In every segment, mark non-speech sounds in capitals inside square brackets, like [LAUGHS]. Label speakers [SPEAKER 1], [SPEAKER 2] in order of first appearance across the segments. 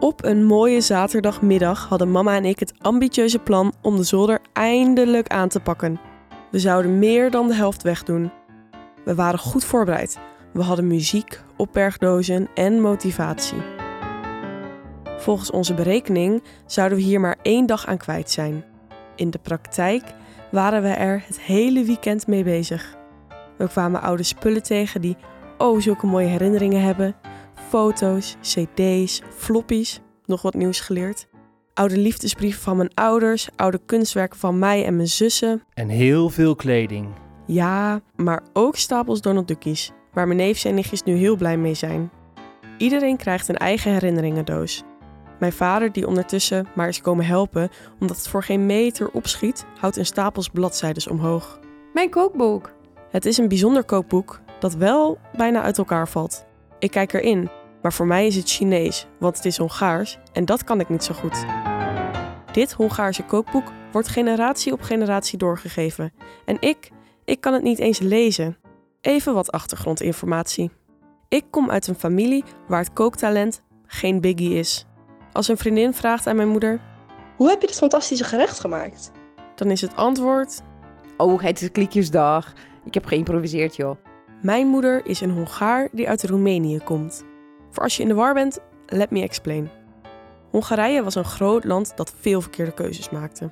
[SPEAKER 1] Op een mooie zaterdagmiddag hadden mama en ik het ambitieuze plan om de zolder eindelijk aan te pakken. We zouden meer dan de helft wegdoen. We waren goed voorbereid. We hadden muziek, opbergdozen en motivatie. Volgens onze berekening zouden we hier maar één dag aan kwijt zijn. In de praktijk waren we er het hele weekend mee bezig. We kwamen oude spullen tegen die oh zulke mooie herinneringen hebben. Foto's, cd's, floppies, nog wat nieuws geleerd. Oude liefdesbrieven van mijn ouders, oude kunstwerken van mij en mijn zussen.
[SPEAKER 2] En heel veel kleding.
[SPEAKER 1] Ja, maar ook stapels Donald Duckies, waar mijn neefjes en nichtjes nu heel blij mee zijn. Iedereen krijgt een eigen herinneringendoos. Mijn vader, die ondertussen maar is komen helpen omdat het voor geen meter opschiet, houdt een stapels bladzijdes omhoog.
[SPEAKER 3] Mijn kookboek.
[SPEAKER 1] Het is een bijzonder kookboek dat wel bijna uit elkaar valt. Ik kijk erin, maar voor mij is het Chinees, want het is Hongaars en dat kan ik niet zo goed. Dit Hongaarse kookboek wordt generatie op generatie doorgegeven en ik, ik kan het niet eens lezen. Even wat achtergrondinformatie. Ik kom uit een familie waar het kooktalent geen biggie is. Als een vriendin vraagt aan mijn moeder,
[SPEAKER 4] Hoe heb je dit fantastische gerecht gemaakt?
[SPEAKER 1] dan is het antwoord:
[SPEAKER 3] Oh, het is klikjesdag. Ik heb geïmproviseerd, joh.
[SPEAKER 1] Mijn moeder is een Hongaar die uit Roemenië komt. Voor als je in de war bent, let me explain. Hongarije was een groot land dat veel verkeerde keuzes maakte.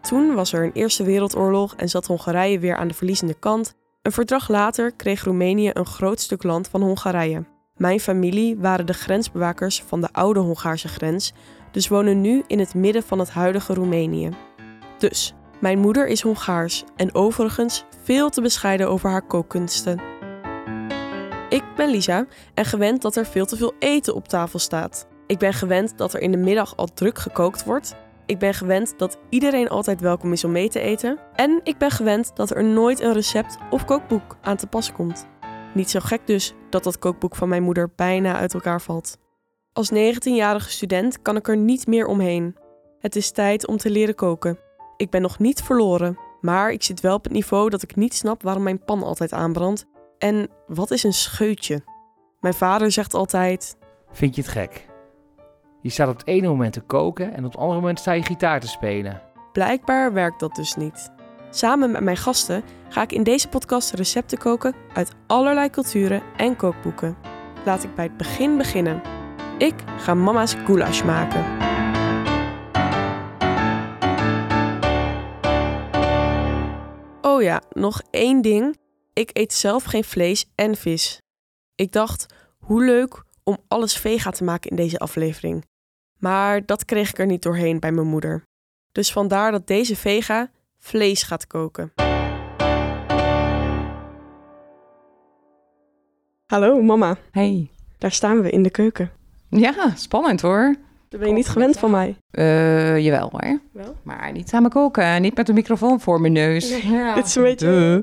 [SPEAKER 1] Toen was er een Eerste Wereldoorlog en zat Hongarije weer aan de verliezende kant. Een verdrag later kreeg Roemenië een groot stuk land van Hongarije. Mijn familie waren de grensbewakers van de oude Hongaarse grens, dus wonen nu in het midden van het huidige Roemenië. Dus, mijn moeder is Hongaars en overigens veel te bescheiden over haar kookkunsten. Ik ben Lisa en gewend dat er veel te veel eten op tafel staat. Ik ben gewend dat er in de middag al druk gekookt wordt. Ik ben gewend dat iedereen altijd welkom is om mee te eten. En ik ben gewend dat er nooit een recept of kookboek aan te pas komt. Niet zo gek dus dat dat kookboek van mijn moeder bijna uit elkaar valt. Als 19-jarige student kan ik er niet meer omheen. Het is tijd om te leren koken. Ik ben nog niet verloren, maar ik zit wel op het niveau dat ik niet snap waarom mijn pan altijd aanbrandt. En wat is een scheutje? Mijn vader zegt altijd:
[SPEAKER 2] Vind je het gek? Je staat op het ene moment te koken en op het andere moment sta je gitaar te spelen.
[SPEAKER 1] blijkbaar werkt dat dus niet. Samen met mijn gasten ga ik in deze podcast recepten koken uit allerlei culturen en kookboeken. Laat ik bij het begin beginnen. Ik ga mama's goulash maken. Oh ja, nog één ding. Ik eet zelf geen vlees en vis. Ik dacht, hoe leuk om alles vega te maken in deze aflevering. Maar dat kreeg ik er niet doorheen bij mijn moeder. Dus vandaar dat deze vega vlees gaat koken. Hallo mama,
[SPEAKER 3] Hey.
[SPEAKER 1] daar staan we in de keuken.
[SPEAKER 3] Ja, spannend hoor.
[SPEAKER 1] Dat ben je niet gewend van mij.
[SPEAKER 3] Eh, jawel hoor.
[SPEAKER 1] Wel?
[SPEAKER 3] Maar niet samen koken. Niet met een microfoon voor mijn neus.
[SPEAKER 1] Nee,
[SPEAKER 3] Ja.
[SPEAKER 1] Dit is een beetje...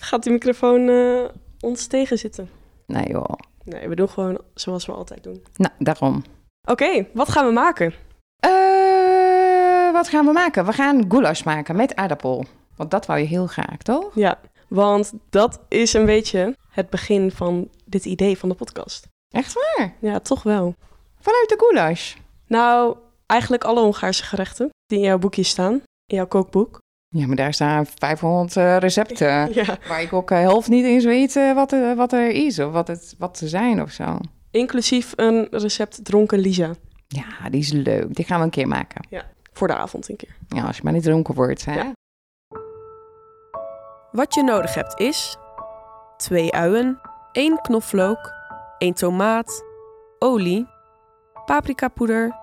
[SPEAKER 1] Gaat die microfoon eh, ons tegen zitten?
[SPEAKER 3] Nee joh.
[SPEAKER 1] Nee, we doen gewoon zoals we altijd doen.
[SPEAKER 3] Nou, daarom.
[SPEAKER 1] Oké, wat gaan we maken?
[SPEAKER 3] Eh, wat gaan we maken? We gaan goulash maken met aardappel. Want dat wou je heel graag, toch?
[SPEAKER 1] Ja, want dat is een beetje het begin van dit idee van de podcast.
[SPEAKER 3] Echt waar?
[SPEAKER 1] Ja, toch wel.
[SPEAKER 3] Vanuit de goulash.
[SPEAKER 1] Nou, eigenlijk alle Hongaarse gerechten die in jouw boekje staan, in jouw kookboek.
[SPEAKER 3] Ja, maar daar staan 500 eh, recepten.
[SPEAKER 1] [LAUGHS] Ja.
[SPEAKER 3] Waar ik ook eh, helft niet eens weet eh, wat, er- wat er is of wat, het, wat ze zijn of zo.
[SPEAKER 1] Inclusief een recept dronken Lisa.
[SPEAKER 3] Ja, die is leuk. Die gaan we een keer maken.
[SPEAKER 1] Voor de avond een keer.
[SPEAKER 3] Ja, als je maar niet dronken wordt, hè?
[SPEAKER 1] Ja. Wat je nodig hebt is... twee uien, één knoflook, één tomaat, olie, paprikapoeder,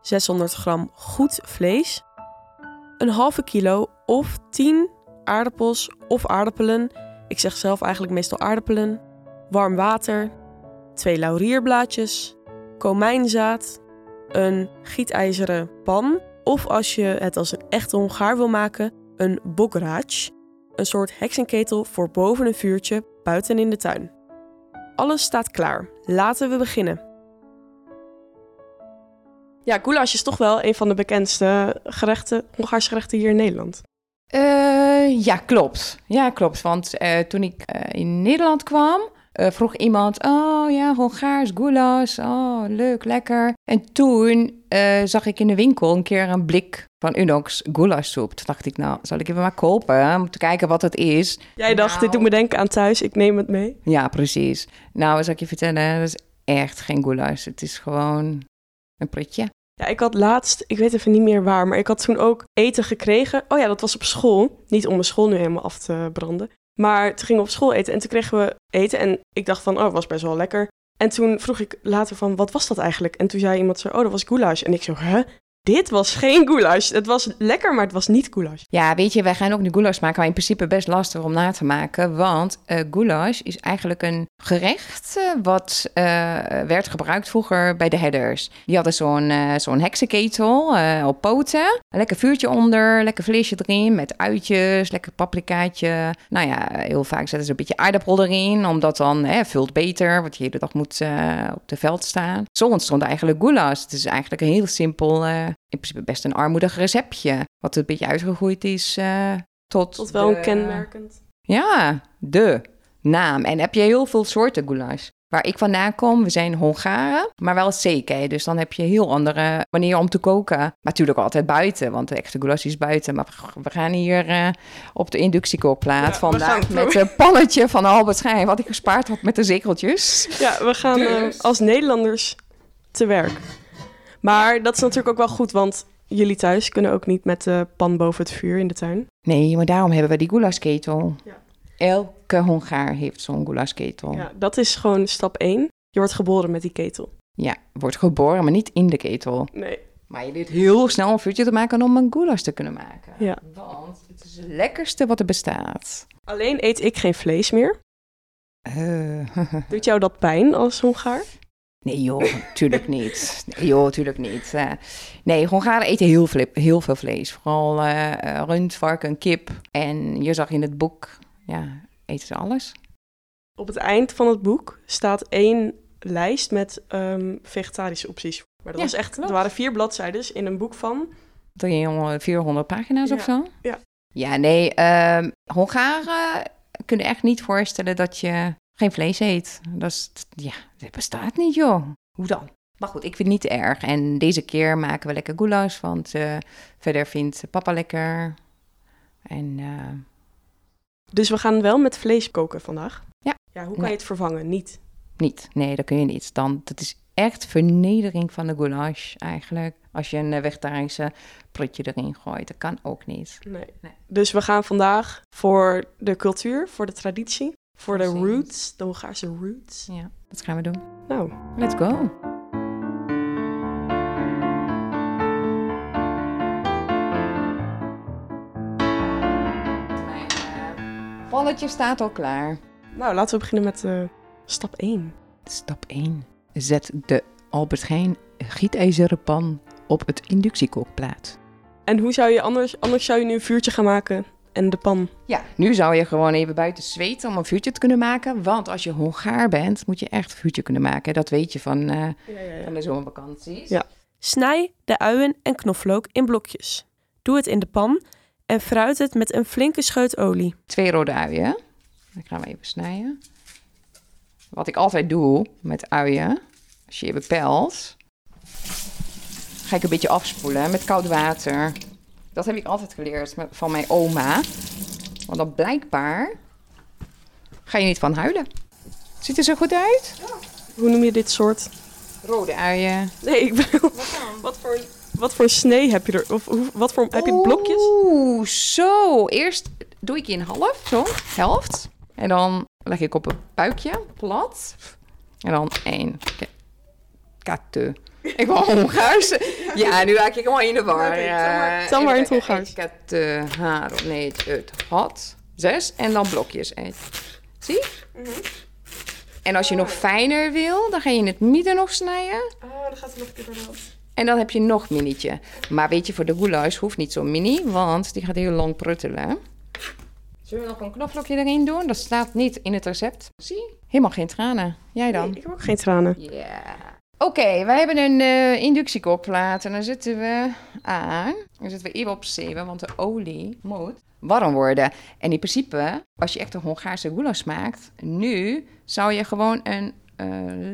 [SPEAKER 1] 600 gram goed vlees, een halve kilo of 10 aardappels of aardappelen. Ik zeg zelf eigenlijk meestal aardappelen. Warm water, twee laurierblaadjes, komijnzaad, een gietijzeren pan. Of als je het als een echte Hongaar wil maken, een bokrach. Een soort heksenketel voor boven een vuurtje buiten in de tuin. Alles staat klaar. Laten we beginnen. Ja, goulash is toch wel een van de bekendste gerechten, Hongaarse gerechten hier in Nederland.
[SPEAKER 3] Eh, ja, klopt. Ja, klopt. Want eh, toen ik eh, in Nederland kwam, eh, eh, vroeg iemand, oh ja, Hongaars goulash, oh leuk, lekker. En toen eh, zag ik in de winkel een keer een blik van Unox goulashsoep. Toen dacht ik, nou, zal ik even maar kopen om te kijken wat het is.
[SPEAKER 1] Jij dacht, dit doet me denken aan thuis, ik neem het mee.
[SPEAKER 3] Ja, precies. Nou, zal ik je vertellen, dat is echt geen goulash. Het is gewoon een prutje.
[SPEAKER 1] Ja, ik had laatst, ik weet even niet meer waar, maar ik had toen ook eten gekregen. Oh ja, dat was op school. Niet om mijn school nu helemaal af te branden. Maar toen gingen we op school eten en toen kregen we eten. En ik dacht van, oh, het was best wel lekker. En toen vroeg ik later van, wat was dat eigenlijk? En toen zei iemand zo, oh, dat was goulash. En ik zo, hè? Dit was geen goulash. Het was lekker, maar het was niet goulash.
[SPEAKER 3] Ja, weet je, wij gaan ook nu goulash maken, maar in principe best lastig om na te maken. Want eh goulash is eigenlijk een gerecht eh, wat eh, werd gebruikt vroeger bij de herders. Die hadden zo'n eh, zo'n heksenketel eh, op poten. Een lekker vuurtje onder, lekker vleesje erin met uitjes, lekker paprikaatje. Nou ja, heel vaak zetten ze een beetje aardappel erin, omdat dan hè, vult beter, want je hele dag moet eh, op de veld staan. Zo ontstond eigenlijk goulash. Het is eigenlijk een heel simpel, eh, in principe best een armoedig receptje, wat een beetje uitgegroeid is eh, tot...
[SPEAKER 1] Tot wel
[SPEAKER 3] de-
[SPEAKER 1] een kenmerkend.
[SPEAKER 3] Ja, de naam. En heb je heel veel soorten goulash. Waar ik vandaan kom, we zijn Hongaren, maar wel zeker. Dus dan heb je heel andere manieren om te koken. Maar natuurlijk altijd buiten, want de echte goulash is buiten. Maar we gaan hier eh, op de inductiekookplaat
[SPEAKER 1] Ja, we gaan
[SPEAKER 3] vandaag
[SPEAKER 1] het
[SPEAKER 3] met een pannetje van Albert Schijn. Wat ik gespaard had met de zekeltjes.
[SPEAKER 1] Ja, we gaan eh, als Nederlanders te werk. Maar dat is natuurlijk ook wel goed, want jullie thuis kunnen ook niet met de pan boven het vuur in de tuin.
[SPEAKER 3] Nee, maar daarom hebben we die goulashketel.
[SPEAKER 1] Ja.
[SPEAKER 3] Elke Hongaar heeft zo'n goulashketel.
[SPEAKER 1] Ja, dat is gewoon stap 1. Je wordt geboren met die ketel.
[SPEAKER 3] ja, wordt geboren, maar niet in de ketel.
[SPEAKER 1] Nee.
[SPEAKER 3] Maar je leert heel snel een vuurtje te maken om een goulash te kunnen maken.
[SPEAKER 1] Ja.
[SPEAKER 3] Want het is het lekkerste wat er bestaat.
[SPEAKER 1] Alleen eet ik geen vlees meer.
[SPEAKER 3] Eh, [LAUGHS]
[SPEAKER 1] Doet jou dat pijn als Hongaar?
[SPEAKER 3] nee joh, tuurlijk niet. Nee joh, tuurlijk niet. Eh, nee, Hongaren eten heel, flip- heel veel vlees. Vooral eh, eh, rund, varken, kip. En je zag in het boek, ja, eten ze alles.
[SPEAKER 1] Op het eind van het boek staat één lijst met ehm, vegetarische opties. Maar dat
[SPEAKER 3] Ja,
[SPEAKER 1] was echt,
[SPEAKER 3] klopt.
[SPEAKER 1] er waren vier bladzijden in een boek van.
[SPEAKER 3] Drie jongen, 400 pagina's of
[SPEAKER 1] Ja,
[SPEAKER 3] zo?
[SPEAKER 1] ja.
[SPEAKER 3] Ja, nee, ehm, Hongaren kunnen echt niet voorstellen dat je geen vlees eet. Dat is, ja, dat bestaat niet, joh. Hoe dan? Maar goed, ik vind het niet erg. En deze keer maken we lekker goulash, want eh, verder vindt papa lekker. En eh,
[SPEAKER 1] Dus we gaan wel met vlees koken vandaag.
[SPEAKER 3] Ja.
[SPEAKER 1] Ja, hoe kan
[SPEAKER 3] Nee.
[SPEAKER 1] je het vervangen? Niet.
[SPEAKER 3] niet, nee, dat kun je niet. Dan, dat is echt vernedering van de goulash eigenlijk. Als je een eh, vegetarische prutje erin gooit, dat kan ook niet.
[SPEAKER 1] Nee.
[SPEAKER 3] Nee.
[SPEAKER 1] Dus we gaan vandaag voor de cultuur, voor de traditie, voor de
[SPEAKER 3] Precies.
[SPEAKER 1] roots, de Hongaarse roots.
[SPEAKER 3] Ja, dat gaan we doen.
[SPEAKER 1] Nou,
[SPEAKER 3] Let's go. Mijn eh, pannetje staat al klaar.
[SPEAKER 1] nou laten we beginnen met eh, stap 1.
[SPEAKER 3] Stap 1. Zet de Albert Heijn gietijzeren pan op het inductiekookplaat.
[SPEAKER 1] En hoe zou je anders, anders zou je nu een vuurtje gaan maken en de pan.
[SPEAKER 3] Ja, nu zou je gewoon even buiten zweten om een vuurtje te kunnen maken. Want als je Hongaar bent, moet je echt vuurtje kunnen maken. Dat weet je van, eh, van de zomervakanties.
[SPEAKER 1] Ja. Snij de uien en knoflook in blokjes. Doe het in de pan en fruit het met een flinke scheut olie.
[SPEAKER 3] twee rode uien. Dan gaan we even snijden. Wat ik altijd doe met uien, als je je bepelt, ga ik een beetje afspoelen met koud water. Dat heb ik altijd geleerd met- van mijn oma. Want dan blijkbaar ga je niet van huilen. Ziet er zo goed uit?
[SPEAKER 1] Hoe noem je dit soort?
[SPEAKER 3] Rode uien.
[SPEAKER 1] Nee, ik bedoel... Wat voor, wat voor snee heb je er? Of hoe- wat voor, heb je blokjes?
[SPEAKER 3] Oeh, zo. Eerst doe ik je in half, zo, helft. En dan leg ik op een buikje, plat. En dan één. Ke- Katu. Ik wil
[SPEAKER 1] [LAUGHS]
[SPEAKER 3] Hongaars. Ja, nu raak ik helemaal in de war. Eh,
[SPEAKER 1] Oké, tel maar- tel maar in het Hongaars.
[SPEAKER 3] Katu, haar, nee, het had. Zes en dan blokjes. Eén. Zie?
[SPEAKER 1] Mhm.
[SPEAKER 3] En als je nog fijner wil, dan ga je in het midden nog snijden.
[SPEAKER 1] Oh, dan gaat er nog een keer doorheen.
[SPEAKER 3] En dan heb je nog minietje. Maar weet je, voor de goulash hoeft niet zo'n mini, want die gaat heel lang pruttelen. Zullen we nog een knoflookje erin doen? Dat staat niet in het recept. Zie? Helemaal geen tranen. Jij dan?
[SPEAKER 1] Ik heb ook geen tranen.
[SPEAKER 3] Ja. Oké, we hebben een eh, inductiekookplaat en dan zetten we aan. Dan zetten we even op zeven, want de olie moet warm worden. En in principe, als je echt een Hongaarse goulash maakt, nu zou je gewoon een eh,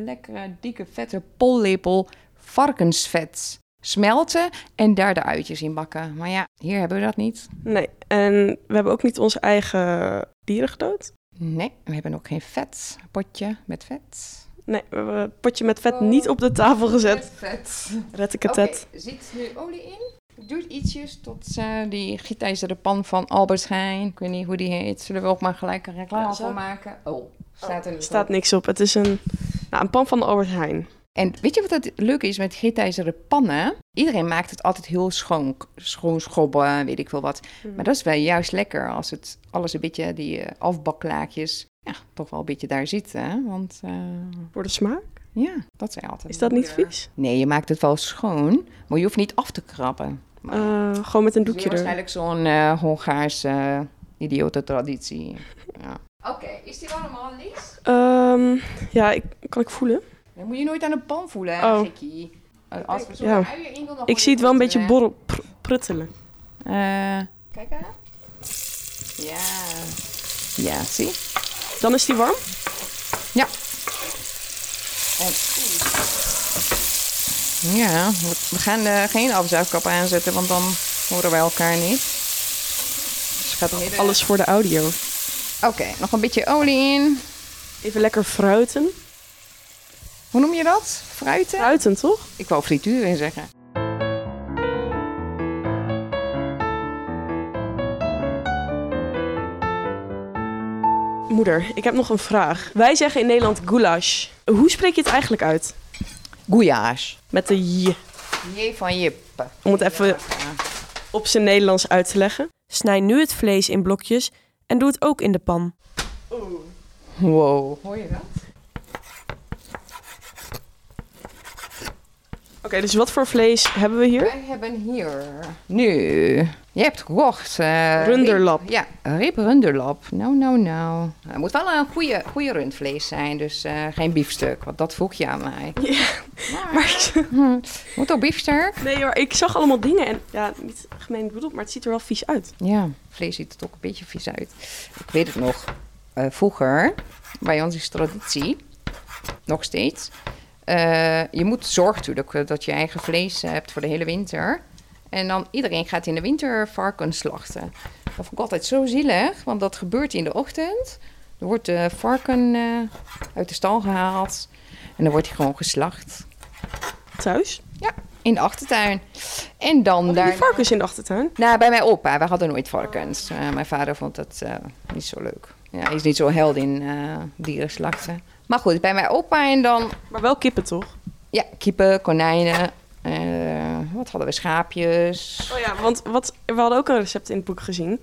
[SPEAKER 3] lekkere, dikke, vette pollepel varkensvet smelten en daar de uitjes in bakken. Maar ja, hier hebben we dat niet.
[SPEAKER 1] Nee, en we hebben ook niet onze eigen dieren gedood.
[SPEAKER 3] Nee, we hebben ook geen vet. Potje met vet.
[SPEAKER 1] Nee, we hebben het potje met vet niet op de tafel gezet.
[SPEAKER 3] vet. Oké,
[SPEAKER 1] Rettekatet.
[SPEAKER 3] zit nu olie in? Ik doe het ietsjes tot eh, die gietijzeren pan van Albert Heijn. Ik weet niet hoe die heet. Zullen we ook maar gelijk een reclame
[SPEAKER 1] Ja, zo.
[SPEAKER 3] voor maken? Oh, staat er niet
[SPEAKER 1] staat
[SPEAKER 3] op.
[SPEAKER 1] niks op. Het is een, nou, een pan van de Albert Heijn.
[SPEAKER 3] En weet je wat het leuke is met gietijzeren pannen? Iedereen maakt het altijd heel schoon, schoon schrobben, weet ik veel wat.
[SPEAKER 1] Hmm.
[SPEAKER 3] Maar dat is wel juist lekker als het alles een beetje, die eh, afbaklaagjes, ja, toch wel een beetje daar zitten. Want eh,
[SPEAKER 1] Voor de smaak?
[SPEAKER 3] ja, dat is altijd
[SPEAKER 1] Is dat niet
[SPEAKER 3] lekker.
[SPEAKER 1] vies?
[SPEAKER 3] Nee, je maakt het wel schoon, maar je hoeft niet af te krabben. Maar-
[SPEAKER 1] Eh, gewoon met een
[SPEAKER 3] Dus
[SPEAKER 1] doekje er.
[SPEAKER 3] Waarschijnlijk zo'n eh, Hongaarse eh, idiote traditie. Ja. Oké, is die warm al, Lies?
[SPEAKER 1] Ehm, ja, ik, kan ik voelen?
[SPEAKER 3] Dan moet je nooit aan de pan voelen, hè,
[SPEAKER 1] Oh.
[SPEAKER 3] gekkie. Eh, Als we zo'n
[SPEAKER 1] Ja.
[SPEAKER 3] uien in doen, dan
[SPEAKER 1] Ik
[SPEAKER 3] gooi
[SPEAKER 1] zie het wel een beetje
[SPEAKER 3] eh,
[SPEAKER 1] borrel, pr- pruttelen.
[SPEAKER 3] eh, Kijk aan. Ja. Ja, zie.
[SPEAKER 1] Dan is die warm?
[SPEAKER 3] Ja. En, ja, we- we gaan eh, geen afzuigkap aanzetten, want dan horen wij elkaar niet. Dus gaat het-
[SPEAKER 1] Alles voor de audio.
[SPEAKER 3] Oké, nog een beetje olie in.
[SPEAKER 1] Even lekker fruiten.
[SPEAKER 3] Hoe noem je dat? Fruiten?
[SPEAKER 1] Fruiten, toch?
[SPEAKER 3] Ik wou frituur in zeggen.
[SPEAKER 1] Moeder, ik heb nog een vraag. Wij zeggen in Nederland goulash. Hoe spreek je het eigenlijk uit?
[SPEAKER 3] Goulash.
[SPEAKER 1] Met de j.
[SPEAKER 3] J van Jip.
[SPEAKER 1] Om het even op zijn Nederlands uit te leggen. Snij nu het vlees in blokjes en doe het ook in de pan.
[SPEAKER 3] Wow. Hoor je dat?
[SPEAKER 1] Oké, dus wat voor vlees hebben we hier?
[SPEAKER 3] Wij hebben hier nu. Je hebt gekocht. eh,
[SPEAKER 1] Runderlap.
[SPEAKER 3] rib- ja, rib runderlap. Nou, nou, nou. Het moet wel een goede, goede rundvlees zijn, dus eh, geen biefstuk, want dat vroeg je aan mij. Hm.
[SPEAKER 1] Maar,
[SPEAKER 3] Moet ook biefstuk?
[SPEAKER 1] nee, maar ik zag allemaal dingen en ja, niet gemeen bedoeld, maar het ziet er wel vies uit.
[SPEAKER 3] Ja, vlees ziet er ook een beetje vies uit. Ik weet het nog. eh, vroeger, bij ons is traditie, nog steeds. eh, je moet zorgen natuurlijk eh, dat je eigen vlees eh, hebt voor de hele winter. En dan iedereen gaat in de winter varkens slachten. Dat vond ik altijd zo zielig, want dat gebeurt in de ochtend. Er wordt de varken eh, uit de stal gehaald en dan wordt hij gewoon geslacht
[SPEAKER 1] Thuis?
[SPEAKER 3] in de achtertuin. En dan daar.
[SPEAKER 1] Die varkens in de achtertuin.
[SPEAKER 3] Nou, bij mijn opa. Wij hadden nooit varkens. Eh, mijn vader vond dat eh, niet zo leuk. Ja, hij is niet zo held in eh dierenslachten. Maar goed, bij mijn opa en dan...
[SPEAKER 1] Maar wel kippen toch?
[SPEAKER 3] Ja, kippen, konijnen. eh, wat hadden we? Schaapjes.
[SPEAKER 1] Oh ja, want wat, we hadden ook een recept in het boek gezien.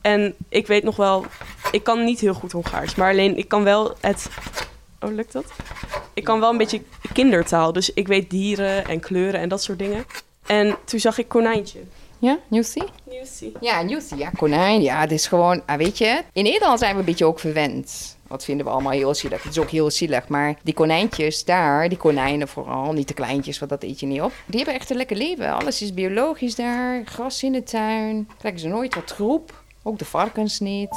[SPEAKER 1] En ik weet nog wel, ik kan niet heel goed Hongaars, maar alleen ik kan wel het. Oh, lukt dat? Ik kan wel een beetje kindertaal, dus ik weet dieren en kleuren en dat soort dingen. En toen zag ik konijntje.
[SPEAKER 3] Ja, Newsy?
[SPEAKER 1] Nieuwsie.
[SPEAKER 3] Ja, Newsy. Ja, konijn. Ja, het is gewoon... Ah, weet je, in Nederland zijn we een beetje ook verwend. Wat vinden we allemaal heel zielig. Het is ook heel zielig. Maar die konijntjes daar, die konijnen vooral, niet de kleintjes, want dat eet je niet op. Die hebben echt een lekker leven. Alles is biologisch daar. Gras in de tuin. Krijgen ze nooit wat groep. Ook de varkens niet.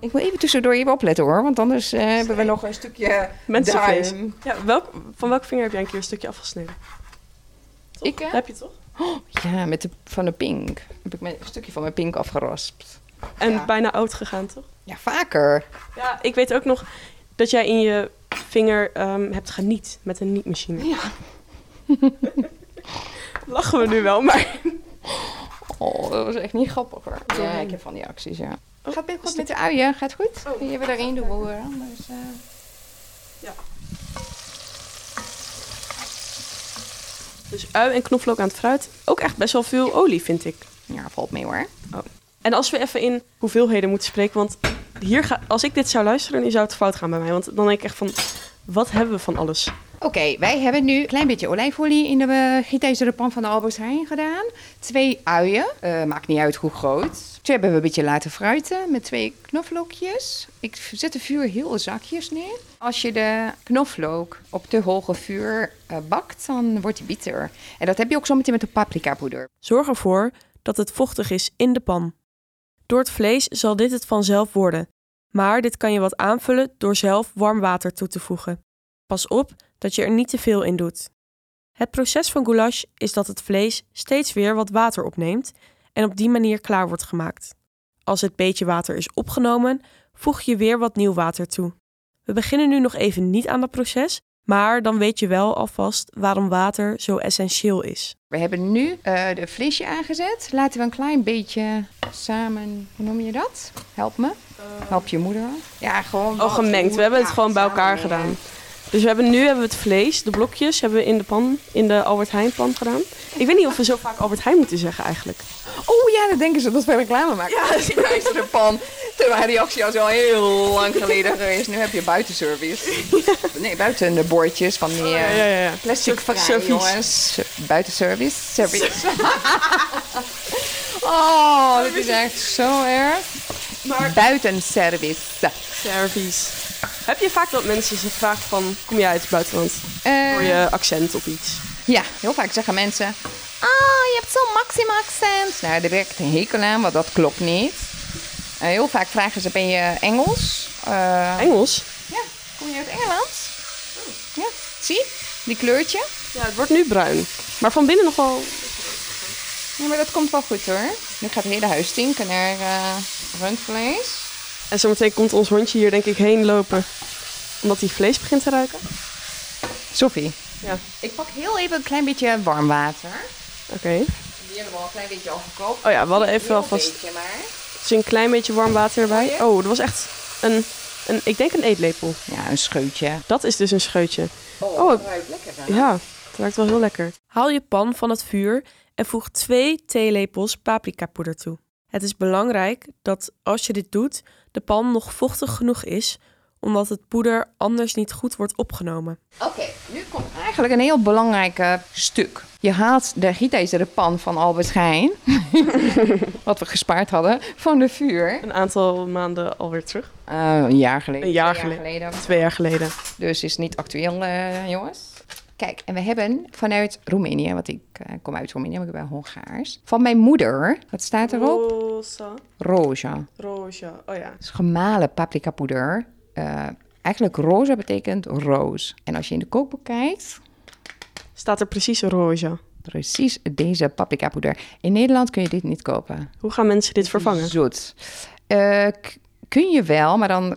[SPEAKER 3] Ik wil even tussendoor even opletten hoor, want anders eh, hebben we nog een stukje
[SPEAKER 1] Mensenvlees.
[SPEAKER 3] duim.
[SPEAKER 1] Ja, welk, van welk vinger heb jij een keer een stukje afgesneden? Toch?
[SPEAKER 3] Ik, hè?
[SPEAKER 1] Dat heb je toch?
[SPEAKER 3] Ja, met de, van de pink. Heb ik mijn, een stukje van mijn pink afgeraspt.
[SPEAKER 1] En
[SPEAKER 3] Ja.
[SPEAKER 1] bijna oud gegaan, toch?
[SPEAKER 3] Ja, vaker.
[SPEAKER 1] Ja, ik weet ook nog dat jij in je vinger ehm, hebt geniet met een nietmachine.
[SPEAKER 3] Ja.
[SPEAKER 1] [LAUGHS] Lachen we nu wel, maar...
[SPEAKER 3] Oh, dat was echt niet grappig hoor. Ja,
[SPEAKER 1] Sorry.
[SPEAKER 3] ik heb van die acties, ja.
[SPEAKER 1] Oh,
[SPEAKER 3] Oh. gaat het goed met de uien? Gaat het goed? Kun je weer erin doen hoor, anders... eh.
[SPEAKER 1] Dus ui en knoflook aan het fruit. Ook echt best wel veel olie, vind ik.
[SPEAKER 3] Ja, valt mee hoor.
[SPEAKER 1] En als we even in hoeveelheden moeten spreken, want hier ga, als ik dit zou luisteren, dan zou het fout gaan bij mij. Want dan denk ik echt van, wat hebben we van alles?
[SPEAKER 3] Oké, wij hebben nu een klein beetje olijfolie in de eh, gietijzeren pan van de Albert Heijn gedaan. Twee uien, eh, maakt niet uit hoe groot. Toen hebben we een beetje laten fruiten met twee knoflookjes. Ik v- zet de vuur heel zakjes neer. Als je de knoflook op te hoge vuur eh, bakt, dan wordt die bitter. En dat heb je ook zometeen met de paprikapoeder.
[SPEAKER 1] Zorg ervoor dat het vochtig is in de pan. Door het vlees zal dit het vanzelf worden, maar dit kan je wat aanvullen door zelf warm water toe te voegen. Pas op dat je er niet te veel in doet. Het proces van goulash is dat het vlees steeds weer wat water opneemt en op die manier klaar wordt gemaakt. Als het beetje water is opgenomen, voeg je weer wat nieuw water toe. We beginnen nu nog even niet aan dat proces, maar dan weet je wel alvast waarom water zo essentieel is.
[SPEAKER 3] We hebben nu eh, de vleesje aangezet. Laten we een klein beetje samen, hoe noem je dat? Help me. Help je moeder. Ja, gewoon.
[SPEAKER 1] Oh, gemengd. We hebben het
[SPEAKER 3] Ja,
[SPEAKER 1] gewoon bij elkaar
[SPEAKER 3] samenmengen.
[SPEAKER 1] gedaan. Dus we hebben, nu hebben we het vlees, de blokjes, hebben we in de pan, in de Albert Heijn pan gedaan. Ik weet niet of we zo vaak Albert Heijn moeten zeggen eigenlijk.
[SPEAKER 3] Oh ja, dan denken ze dat we reclame maken. Ja, [LAUGHS] dat is de pan. Terwijl die actie al zo heel lang geleden geweest. Nu heb je buitenservice. Nee, buiten de bordjes van die eh,
[SPEAKER 1] ja.
[SPEAKER 3] plastic
[SPEAKER 1] Soort
[SPEAKER 3] vrij,
[SPEAKER 1] servies.
[SPEAKER 3] jongens. Buitenservice. Service. [LAUGHS] oh, dit is echt zo erg.
[SPEAKER 1] Maar-
[SPEAKER 3] Buitenservice.
[SPEAKER 1] Servies. Heb je vaak dat mensen zich vragen van, kom jij uit het buitenland?
[SPEAKER 3] Eh,
[SPEAKER 1] Door je accent of iets.
[SPEAKER 3] Ja, heel vaak zeggen mensen... Ah, je hebt zo'n maxima-accent. Nou, daar werkt een hekel aan, want dat klopt niet. Eh, heel vaak vragen ze, ben je Engels? Eh,
[SPEAKER 1] Engels?
[SPEAKER 3] ja, kom je uit Engeland? Ja, zie? Die kleurtje.
[SPEAKER 1] Ja, het wordt nu bruin. Maar van binnen nog wel...
[SPEAKER 3] Ja, maar dat komt wel goed hoor. Nu gaat het hele huis stinken naar eh, rundvlees.
[SPEAKER 1] En zometeen komt ons hondje hier denk ik heen lopen. Omdat hij vlees begint te ruiken.
[SPEAKER 3] Sophie.
[SPEAKER 1] Ja,
[SPEAKER 3] Ik pak heel even een klein beetje warm water.
[SPEAKER 1] oké.
[SPEAKER 3] Die hebben we al een klein beetje al gekookt.
[SPEAKER 1] Oh ja, we hadden even
[SPEAKER 3] Heel
[SPEAKER 1] alvast
[SPEAKER 3] beetje maar.
[SPEAKER 1] dus een klein beetje warm water
[SPEAKER 3] Oh,
[SPEAKER 1] erbij.
[SPEAKER 3] ja?
[SPEAKER 1] Oh, dat was echt een, een ik denk een eetlepel.
[SPEAKER 3] Ja, een scheutje.
[SPEAKER 1] Dat is dus een scheutje.
[SPEAKER 3] Oh,
[SPEAKER 1] het
[SPEAKER 3] ruikt lekker aan.
[SPEAKER 1] Ja, het ruikt wel heel lekker. Haal je pan van het vuur en voeg twee theelepels paprikapoeder toe. Het is belangrijk dat als je dit doet, de pan nog vochtig genoeg is, omdat het poeder anders niet goed wordt opgenomen.
[SPEAKER 3] Oké, nu komt eigenlijk een heel belangrijk eh, stuk. Je haalt de gietijzeren pan van Albert Heijn, [LAUGHS] wat we gespaard hadden, van de vuur.
[SPEAKER 1] Een aantal maanden alweer terug.
[SPEAKER 3] Eh, een jaar geleden.
[SPEAKER 1] Een jaar
[SPEAKER 3] Twee
[SPEAKER 1] Twee jaar geleden.
[SPEAKER 3] Dus is niet actueel, eh, jongens. Kijk, en we hebben vanuit Roemenië, want ik eh, kom uit Roemenië, maar ik ben Hongaars. Van mijn moeder, wat staat erop?
[SPEAKER 1] Rosa.
[SPEAKER 3] Roja.
[SPEAKER 1] Rosa. Oh ja.
[SPEAKER 3] Het is gemalen paprikapoeder. Eh, eigenlijk roze betekent roos. En als je in de kookboek kijkt,
[SPEAKER 1] Staat er precies een rosa.
[SPEAKER 3] Precies deze paprikapoeder. In Nederland kun je dit niet kopen.
[SPEAKER 1] Hoe gaan mensen dit vervangen?
[SPEAKER 3] Zoet. Eh, k- kun je wel, maar dan...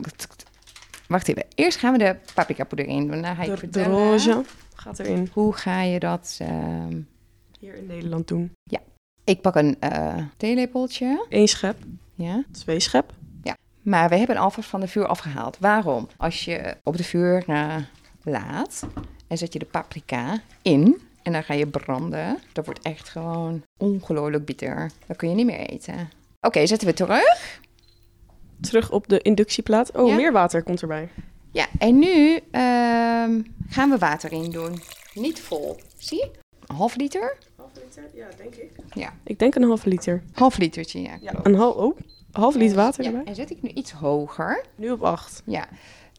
[SPEAKER 3] Wacht even. Eerst gaan we de paprikapoeder in. Daarna ga ik
[SPEAKER 1] De, de
[SPEAKER 3] vertellen
[SPEAKER 1] rosa gaat erin.
[SPEAKER 3] Hoe ga je dat... ehm,
[SPEAKER 1] Hier in Nederland doen.
[SPEAKER 3] Ik pak een eh theelepeltje.
[SPEAKER 1] Eén schep,
[SPEAKER 3] Ja.
[SPEAKER 1] twee schep.
[SPEAKER 3] Maar we hebben alvast van de vuur afgehaald. Waarom? Als je op de vuur eh, laat en zet je de paprika in... En dan ga je branden. Dat wordt echt gewoon ongelooflijk bitter. Dat kun je niet meer eten. Oké, zetten we terug.
[SPEAKER 1] Terug op de inductieplaat. Oh,
[SPEAKER 3] Ja.
[SPEAKER 1] meer water komt erbij.
[SPEAKER 3] Ja, en nu ehm, gaan we water in doen. Niet vol. Zie? Een half liter?
[SPEAKER 1] Half liter? Ja, denk ik.
[SPEAKER 3] Ja.
[SPEAKER 1] Ik denk een half liter.
[SPEAKER 3] Half litertje, ja. klopt.
[SPEAKER 1] Een half, oh, een half liter water
[SPEAKER 3] Ja,
[SPEAKER 1] erbij.
[SPEAKER 3] en zet ik nu iets hoger.
[SPEAKER 1] Nu op acht.
[SPEAKER 3] Ja,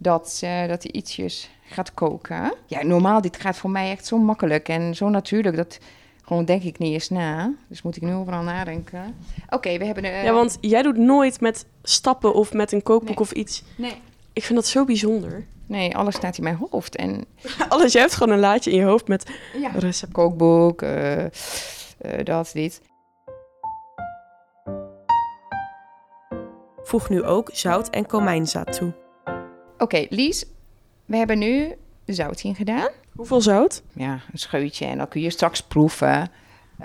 [SPEAKER 3] dat, eh, dat hij ietsjes gaat koken. Ja, normaal, dit gaat voor mij echt zo makkelijk en zo natuurlijk. Dat gewoon denk ik niet eens na. Dus moet ik nu overal nadenken. Oké, we hebben... eh,
[SPEAKER 1] ja, want jij doet nooit met stappen of met een kookboek
[SPEAKER 3] Nee.
[SPEAKER 1] of iets.
[SPEAKER 3] Nee.
[SPEAKER 1] Ik vind dat zo bijzonder. [LAUGHS]
[SPEAKER 3] Nee, alles staat in mijn hoofd. En
[SPEAKER 1] Alles, jij hebt gewoon een laadje in je hoofd met
[SPEAKER 3] ja,
[SPEAKER 1] recept.
[SPEAKER 3] kookboek, eh, eh, dat, dit.
[SPEAKER 1] Voeg nu ook zout en komijnzaad toe.
[SPEAKER 3] Oké, Lies, we hebben nu de zout gedaan.
[SPEAKER 1] Hoeveel zout?
[SPEAKER 3] Ja, een scheutje en dan kun je straks proeven.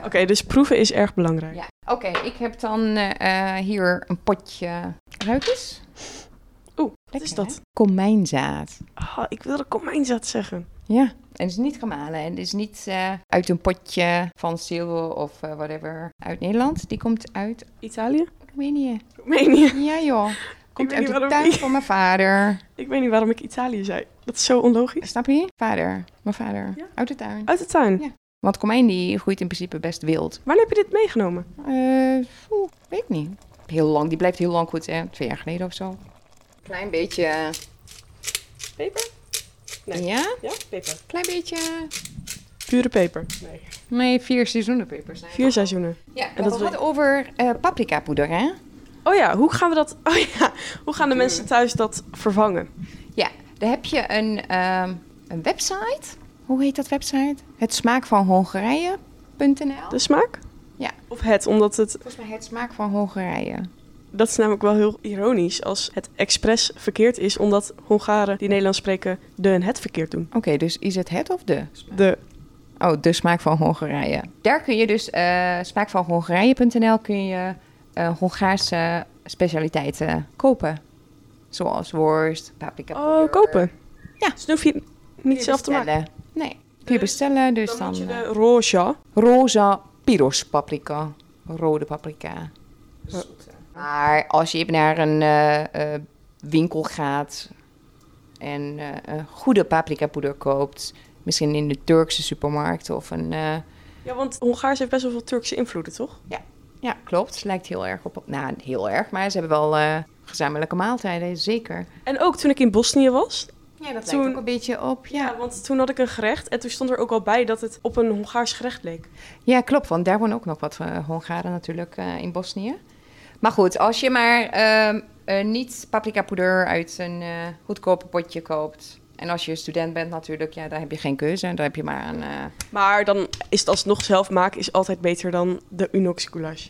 [SPEAKER 1] Oké, dus proeven is erg belangrijk.
[SPEAKER 3] Ja. Oké, ik heb dan eh, eh, hier een potje ruikers.
[SPEAKER 1] Oeh, wat is dat?
[SPEAKER 3] Komijnzaad.
[SPEAKER 1] Ah, ik wilde komijnzaad zeggen.
[SPEAKER 3] Ja, en het is niet gemalen en het is niet eh, uit een potje van zilver of eh, whatever uit Nederland. Die komt uit
[SPEAKER 1] Italië?
[SPEAKER 3] Roemenië.
[SPEAKER 1] Roemenië.
[SPEAKER 3] Ja joh,
[SPEAKER 1] weet
[SPEAKER 3] komt uit
[SPEAKER 1] niet
[SPEAKER 3] de
[SPEAKER 1] waarom
[SPEAKER 3] tuin
[SPEAKER 1] ik-
[SPEAKER 3] van mijn vader.
[SPEAKER 1] Ik weet niet waarom ik Italië zei. Dat is zo onlogisch.
[SPEAKER 3] Snap je? Vader, mijn vader,
[SPEAKER 1] Ja.
[SPEAKER 3] uit de tuin.
[SPEAKER 1] Uit de tuin.
[SPEAKER 3] Ja. Want komijn die groeit in principe best wild.
[SPEAKER 1] Wanneer heb je dit meegenomen?
[SPEAKER 3] Eh, oeh, weet ik niet. Heel lang, die blijft heel lang goed, hè? Twee jaar geleden of zo. Klein beetje, eh,
[SPEAKER 1] Peper? Nee.
[SPEAKER 3] ja?
[SPEAKER 1] Ja, peper.
[SPEAKER 3] Klein beetje,
[SPEAKER 1] Pure peper. Nee.
[SPEAKER 3] nee, vier seizoenenpepers. zijn.
[SPEAKER 1] Vier seizoenen.
[SPEAKER 3] Ja,
[SPEAKER 1] En
[SPEAKER 3] en
[SPEAKER 1] dat
[SPEAKER 3] dat we
[SPEAKER 1] wil-
[SPEAKER 3] hadden over eh paprika poeder, hè?
[SPEAKER 1] Oh ja, hoe gaan we dat... Oh ja, hoe gaan de mensen thuis dat vervangen?
[SPEAKER 3] Ja, daar heb je een, ehm, een website. Hoe heet dat website? Het smaak van Hongarije.nl.
[SPEAKER 1] De smaak?
[SPEAKER 3] Ja.
[SPEAKER 1] Of het, omdat het...
[SPEAKER 3] Volgens mij het smaak van Hongarije.
[SPEAKER 1] Dat is namelijk wel heel ironisch als het expres verkeerd is... omdat Hongaren die Nederlands spreken de en het verkeerd doen.
[SPEAKER 3] Oké, dus is het het of de?
[SPEAKER 1] De...
[SPEAKER 3] Oh, de smaak van Hongarije. Daar kun je dus, eh smaak van Hongarije.nl, kun je eh, Hongaarse specialiteiten kopen. Zoals worst, paprika.
[SPEAKER 1] Oh, kopen.
[SPEAKER 3] eh, Ja.
[SPEAKER 1] Dus dan hoef je niet
[SPEAKER 3] je
[SPEAKER 1] zelf te maken.
[SPEAKER 3] bestellen. Nee, kun je bestellen. Dus
[SPEAKER 1] Dan
[SPEAKER 3] dan,
[SPEAKER 1] moet je
[SPEAKER 3] eh,
[SPEAKER 1] de roja.
[SPEAKER 3] roze piros paprika. Rode paprika. Maar als je even naar een eh, eh, winkel gaat en eh, een goede paprikapoeder koopt, misschien in de Turkse supermarkt of een. eh,
[SPEAKER 1] Ja, want Hongaars heeft best wel veel Turkse invloeden, toch?
[SPEAKER 3] ja, klopt. Lijkt heel erg op. Nou, heel erg, maar ze hebben wel eh, gezamenlijke maaltijden, zeker.
[SPEAKER 1] En ook toen ik in Bosnië was,
[SPEAKER 3] Ja, dat
[SPEAKER 1] Toen-
[SPEAKER 3] lijkt ook een beetje op. Ja.
[SPEAKER 1] Ja, want toen had ik een gerecht en toen stond er ook al bij dat het op een Hongaars gerecht leek.
[SPEAKER 3] Ja, klopt. Want daar wonen ook nog wat eh, Hongaren natuurlijk eh, in Bosnië. Maar goed, als je maar ehm, eh, niet paprikapoeder uit een eh goedkope potje koopt. En als je student bent natuurlijk, ja, dan heb je geen keuze. Dan heb je maar een... eh,
[SPEAKER 1] Maar dan is het alsnog zelf maken is altijd beter dan de Unox goulash.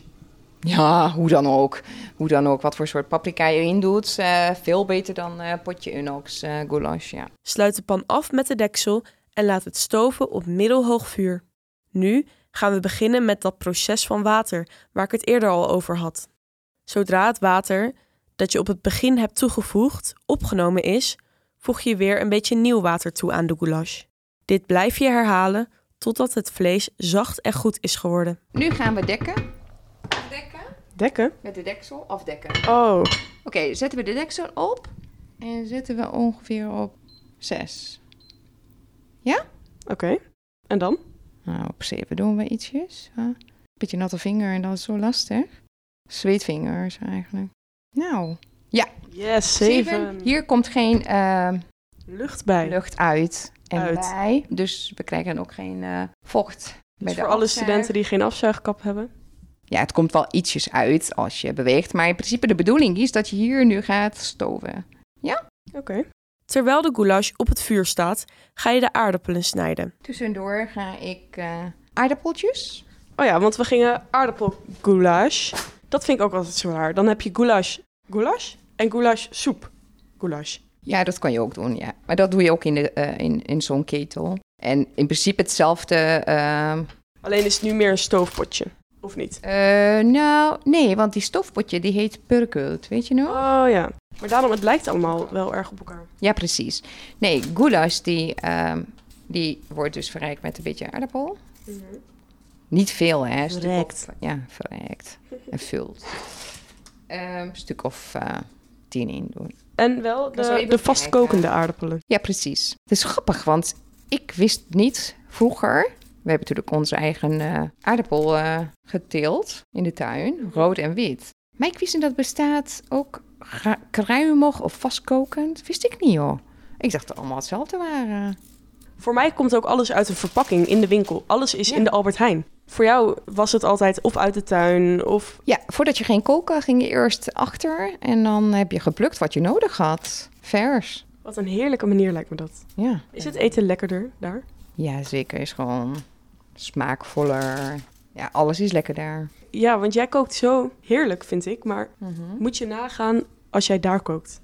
[SPEAKER 3] Ja, hoe dan ook. Hoe dan ook, wat voor soort paprika je erin doet. eh, veel beter dan eh, potje Unox eh goulash, ja.
[SPEAKER 1] Sluit de pan af met de deksel en laat het stoven op middelhoog vuur. Nu gaan we beginnen met dat proces van water waar ik het eerder al over had. Zodra het water dat je op het begin hebt toegevoegd opgenomen is, voeg je weer een beetje nieuw water toe aan de goulash. Dit blijf je herhalen totdat het vlees zacht en goed is geworden.
[SPEAKER 3] Nu gaan we dekken. Dekken.
[SPEAKER 1] Dekken?
[SPEAKER 3] Met de deksel afdekken.
[SPEAKER 1] Oh,
[SPEAKER 3] Oké, zetten we de deksel op. En zetten we ongeveer op 6.
[SPEAKER 1] Oké. En dan?
[SPEAKER 3] Nou, op zeven doen we ietsjes. Hè? Beetje natte vinger en dat is zo lastig. Zweetvingers eigenlijk. Nou,
[SPEAKER 1] Yes,
[SPEAKER 3] zeven. Hier komt geen eh,
[SPEAKER 1] Lucht bij.
[SPEAKER 3] lucht uit en
[SPEAKER 1] Uit.
[SPEAKER 3] bij. Dus we krijgen ook geen eh, vocht.
[SPEAKER 1] Dus
[SPEAKER 3] de
[SPEAKER 1] voor alle
[SPEAKER 3] afzuig.
[SPEAKER 1] studenten die geen afzuigkap hebben.
[SPEAKER 3] Ja, het komt wel ietsjes uit als je beweegt. Maar in principe de bedoeling is dat je hier nu gaat stoven.
[SPEAKER 1] Oké. Terwijl de goulash op het vuur staat, ga je de aardappelen snijden.
[SPEAKER 3] Tussendoor ga ik eh, aardappeltjes.
[SPEAKER 1] Oh ja, want we gingen aardappelgoulash. Dat vind ik ook altijd zo raar. Dan heb je goulash goulash en goulash soep goulash.
[SPEAKER 3] Ja, dat kan je ook doen, ja. Maar dat doe je ook in, de, eh, in, in zo'n ketel. En in principe hetzelfde ehm,
[SPEAKER 1] Alleen is het nu meer een stoofpotje. Of niet?
[SPEAKER 3] Eh, nou, nee, want die stofpotje die heet purkult, weet je nog?
[SPEAKER 1] Oh ja. Maar daarom, het lijkt allemaal wel erg op elkaar.
[SPEAKER 3] Ja, precies. Nee, goulash die, ehm, die wordt dus verrijkt met een beetje aardappel. Niet veel, hè? een stuk of-
[SPEAKER 1] Verrijkt.
[SPEAKER 3] ja, verrijkt. En vult. Ehm, een stuk of eh, tien in doen.
[SPEAKER 1] En wel
[SPEAKER 3] zal
[SPEAKER 1] de,
[SPEAKER 3] even
[SPEAKER 1] de vastkokende aardappelen.
[SPEAKER 3] Ja, precies. Het is grappig, want ik wist niet vroeger. We hebben natuurlijk onze eigen eh, aardappel eh, geteeld in de tuin, rood en wit. Maar ik wist niet dat bestaat ook gra- kruimig of vastkokend. Wist ik niet, hoor. Ik dacht dat allemaal hetzelfde waren.
[SPEAKER 1] Voor mij komt ook alles uit een verpakking in de winkel. Alles is
[SPEAKER 3] Ja.
[SPEAKER 1] in de Albert Heijn. Voor jou was het altijd of uit de tuin of...
[SPEAKER 3] Ja, voordat je ging koken, ging je eerst achter en dan heb je geplukt wat je nodig had. Vers.
[SPEAKER 1] Wat een heerlijke manier lijkt me dat.
[SPEAKER 3] Ja.
[SPEAKER 1] Is het e- eten lekkerder daar?
[SPEAKER 3] Ja, zeker. Is gewoon smaakvoller. Ja, alles is lekker daar.
[SPEAKER 1] Ja, want jij kookt zo heerlijk, vind ik. Maar moet je nagaan als jij daar kookt.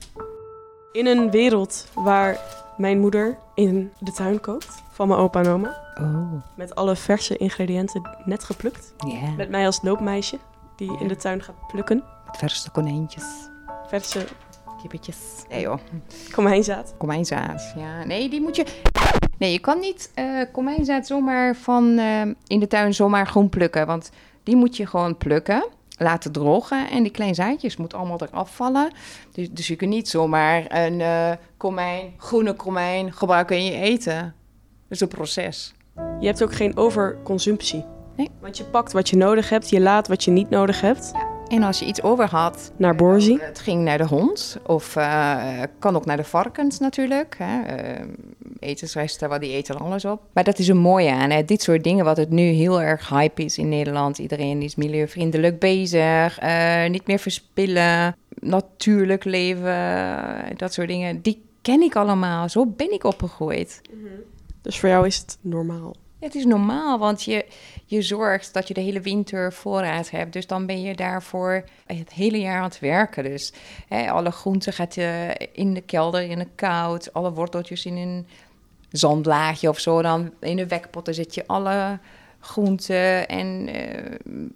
[SPEAKER 1] In een wereld waar mijn moeder in de tuin kookt van mijn opa en oma.
[SPEAKER 3] Oh,
[SPEAKER 1] Met alle verse ingrediënten net geplukt.
[SPEAKER 3] ja.
[SPEAKER 1] Met mij als loopmeisje die in de tuin gaat plukken.
[SPEAKER 3] Met verse konijntjes.
[SPEAKER 1] Verse
[SPEAKER 3] Kippetjes. Nee joh,
[SPEAKER 1] komijnzaad.
[SPEAKER 3] komijnzaad. Ja, nee, die moet je... Nee, je kan niet eh komijnzaad zomaar van eh, in de tuin zomaar groen plukken. Want die moet je gewoon plukken. laten drogen. En die kleine zaadjes moeten allemaal eraf vallen. Dus, dus je kunt niet zomaar een eh, komijn, groene komijn gebruiken in je eten. Dat is een proces.
[SPEAKER 1] Je hebt ook geen overconsumptie.
[SPEAKER 3] Nee.
[SPEAKER 1] Want je pakt wat je nodig hebt, je laat wat je niet nodig hebt.
[SPEAKER 3] En als je iets over had,
[SPEAKER 1] Naar Borzi.
[SPEAKER 3] Het ging naar de hond of eh, kan ook naar de varkens natuurlijk. Hè. Eh, etensresten, wat die eten er alles op. Maar dat is een mooie aan. Hè. Dit soort dingen wat het nu heel erg hype is in Nederland. Iedereen is milieuvriendelijk bezig, eh, niet meer verspillen, natuurlijk leven, eh, dat soort dingen. Die ken ik allemaal, zo ben ik opgegroeid.
[SPEAKER 1] Dus voor jou is het normaal.
[SPEAKER 3] Ja, Het is normaal, want je, je zorgt dat je de hele winter voorraad hebt. Dus dan ben je daarvoor het hele jaar aan het werken. Dus hè, alle groenten gaat je in de kelder in de koud. Alle worteltjes in een zandlaagje of zo. Dan in de wekpotten zet je alle groenten en eh,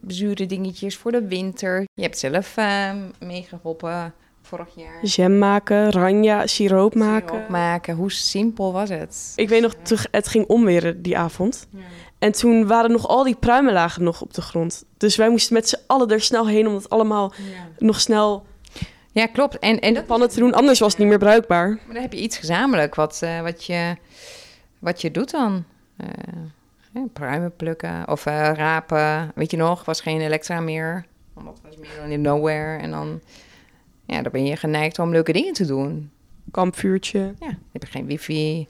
[SPEAKER 3] zure dingetjes voor de winter. Je hebt zelf eh, meegeholpen vorig jaar.
[SPEAKER 1] Jam maken, ranja, siroop maken.
[SPEAKER 3] Siroop maken. Hoe simpel was het?
[SPEAKER 1] Ik weet nog, toen- het ging omweren die avond. En toen waren nog al die pruimenlagen nog op de grond. Dus wij moesten met z'n allen er snel heen om dat allemaal nog snel
[SPEAKER 3] Ja, klopt. En, en dat
[SPEAKER 1] pannen te doen. Anders was het niet meer bruikbaar.
[SPEAKER 3] Maar dan heb je iets gezamenlijk wat, eh, wat, je, wat je doet dan. Eh, hè, pruimen plukken of eh, rapen. Weet je nog, was geen elektra meer. Want dat was meer dan in nowhere. En dan, ja, dan ben je geneigd om leuke dingen te doen.
[SPEAKER 1] Kampvuurtje,
[SPEAKER 3] Ja, dan heb je geen wifi.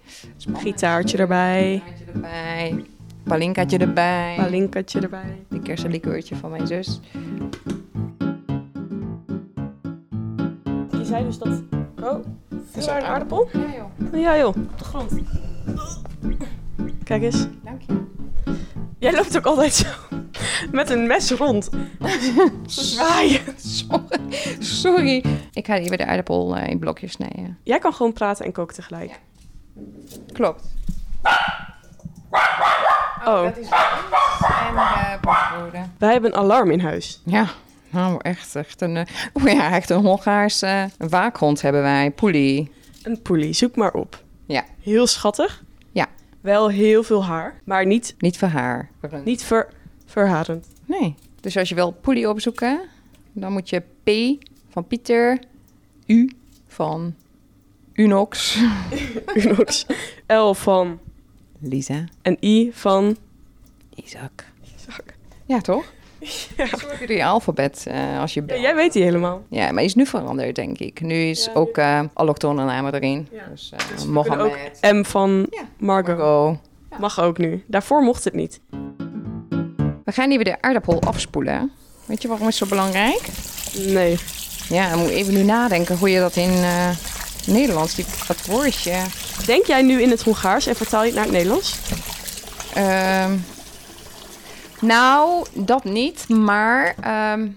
[SPEAKER 1] gitaartje erbij,
[SPEAKER 3] Palinkaatje erbij. Palinkaatje erbij.
[SPEAKER 1] palinkaatje erbij.
[SPEAKER 3] de kersenlikeurtje van mijn zus.
[SPEAKER 1] Je zei dus dat... Oh, is daar een aardappel? Nou Ja joh, op de grond. Kijk eens.
[SPEAKER 3] Dank je.
[SPEAKER 1] Jij loopt ook altijd zo met een mes rond. Zo zwaaien.
[SPEAKER 3] Sorry. Sorry. Ik ga even de aardappel eh, in blokjes snijden.
[SPEAKER 1] Jij kan gewoon praten en koken tegelijk.
[SPEAKER 3] Klopt.
[SPEAKER 1] Oh,
[SPEAKER 3] Oh, Dat is en eh paswoorden.
[SPEAKER 1] wij hebben een alarm in huis.
[SPEAKER 3] Ja, nou echt, echt een, eh, oh ja, echt een Hongaars eh, waakhond hebben wij, Poelie.
[SPEAKER 1] Een poelie, zoek maar op.
[SPEAKER 3] Ja.
[SPEAKER 1] Heel schattig.
[SPEAKER 3] Ja.
[SPEAKER 1] Wel heel veel haar, maar niet,
[SPEAKER 3] Niet voor haar.
[SPEAKER 1] niet ver, verharend. [LAUGHS]
[SPEAKER 3] Nee. Dus als je wil Poelie opzoeken, dan moet je P van Pieter, U van Unox,
[SPEAKER 1] Unox. L van
[SPEAKER 3] Lisa,
[SPEAKER 1] en I van...
[SPEAKER 3] Isaac.
[SPEAKER 1] Isaac.
[SPEAKER 3] Ja,
[SPEAKER 1] [LAUGHS]
[SPEAKER 3] toch? Zorg je door je alfabet eh, als je
[SPEAKER 1] Ja,
[SPEAKER 3] belt.
[SPEAKER 1] jij weet die helemaal.
[SPEAKER 3] Ja, maar die is nu veranderd, denk ik. Nu is
[SPEAKER 1] Ja, nu-
[SPEAKER 3] ook eh allochtone namen erin.
[SPEAKER 1] Ja.
[SPEAKER 3] Dus, eh,
[SPEAKER 1] Dus we
[SPEAKER 3] Mohammed,
[SPEAKER 1] kunnen M van
[SPEAKER 3] Ja.
[SPEAKER 1] Margot.
[SPEAKER 3] Margot.
[SPEAKER 1] Mag ook nu. Daarvoor mocht het niet.
[SPEAKER 3] We gaan even de aardappel afspoelen. Weet je waarom het zo belangrijk?
[SPEAKER 1] Nee.
[SPEAKER 3] Ja, dan moet je even nu nadenken hoe je dat in eh, Nederlands, die, dat woordje.
[SPEAKER 1] Denk jij nu in het Hongaars en vertaal je het naar het Nederlands?
[SPEAKER 3] ehm, nou, dat niet, maar ehm,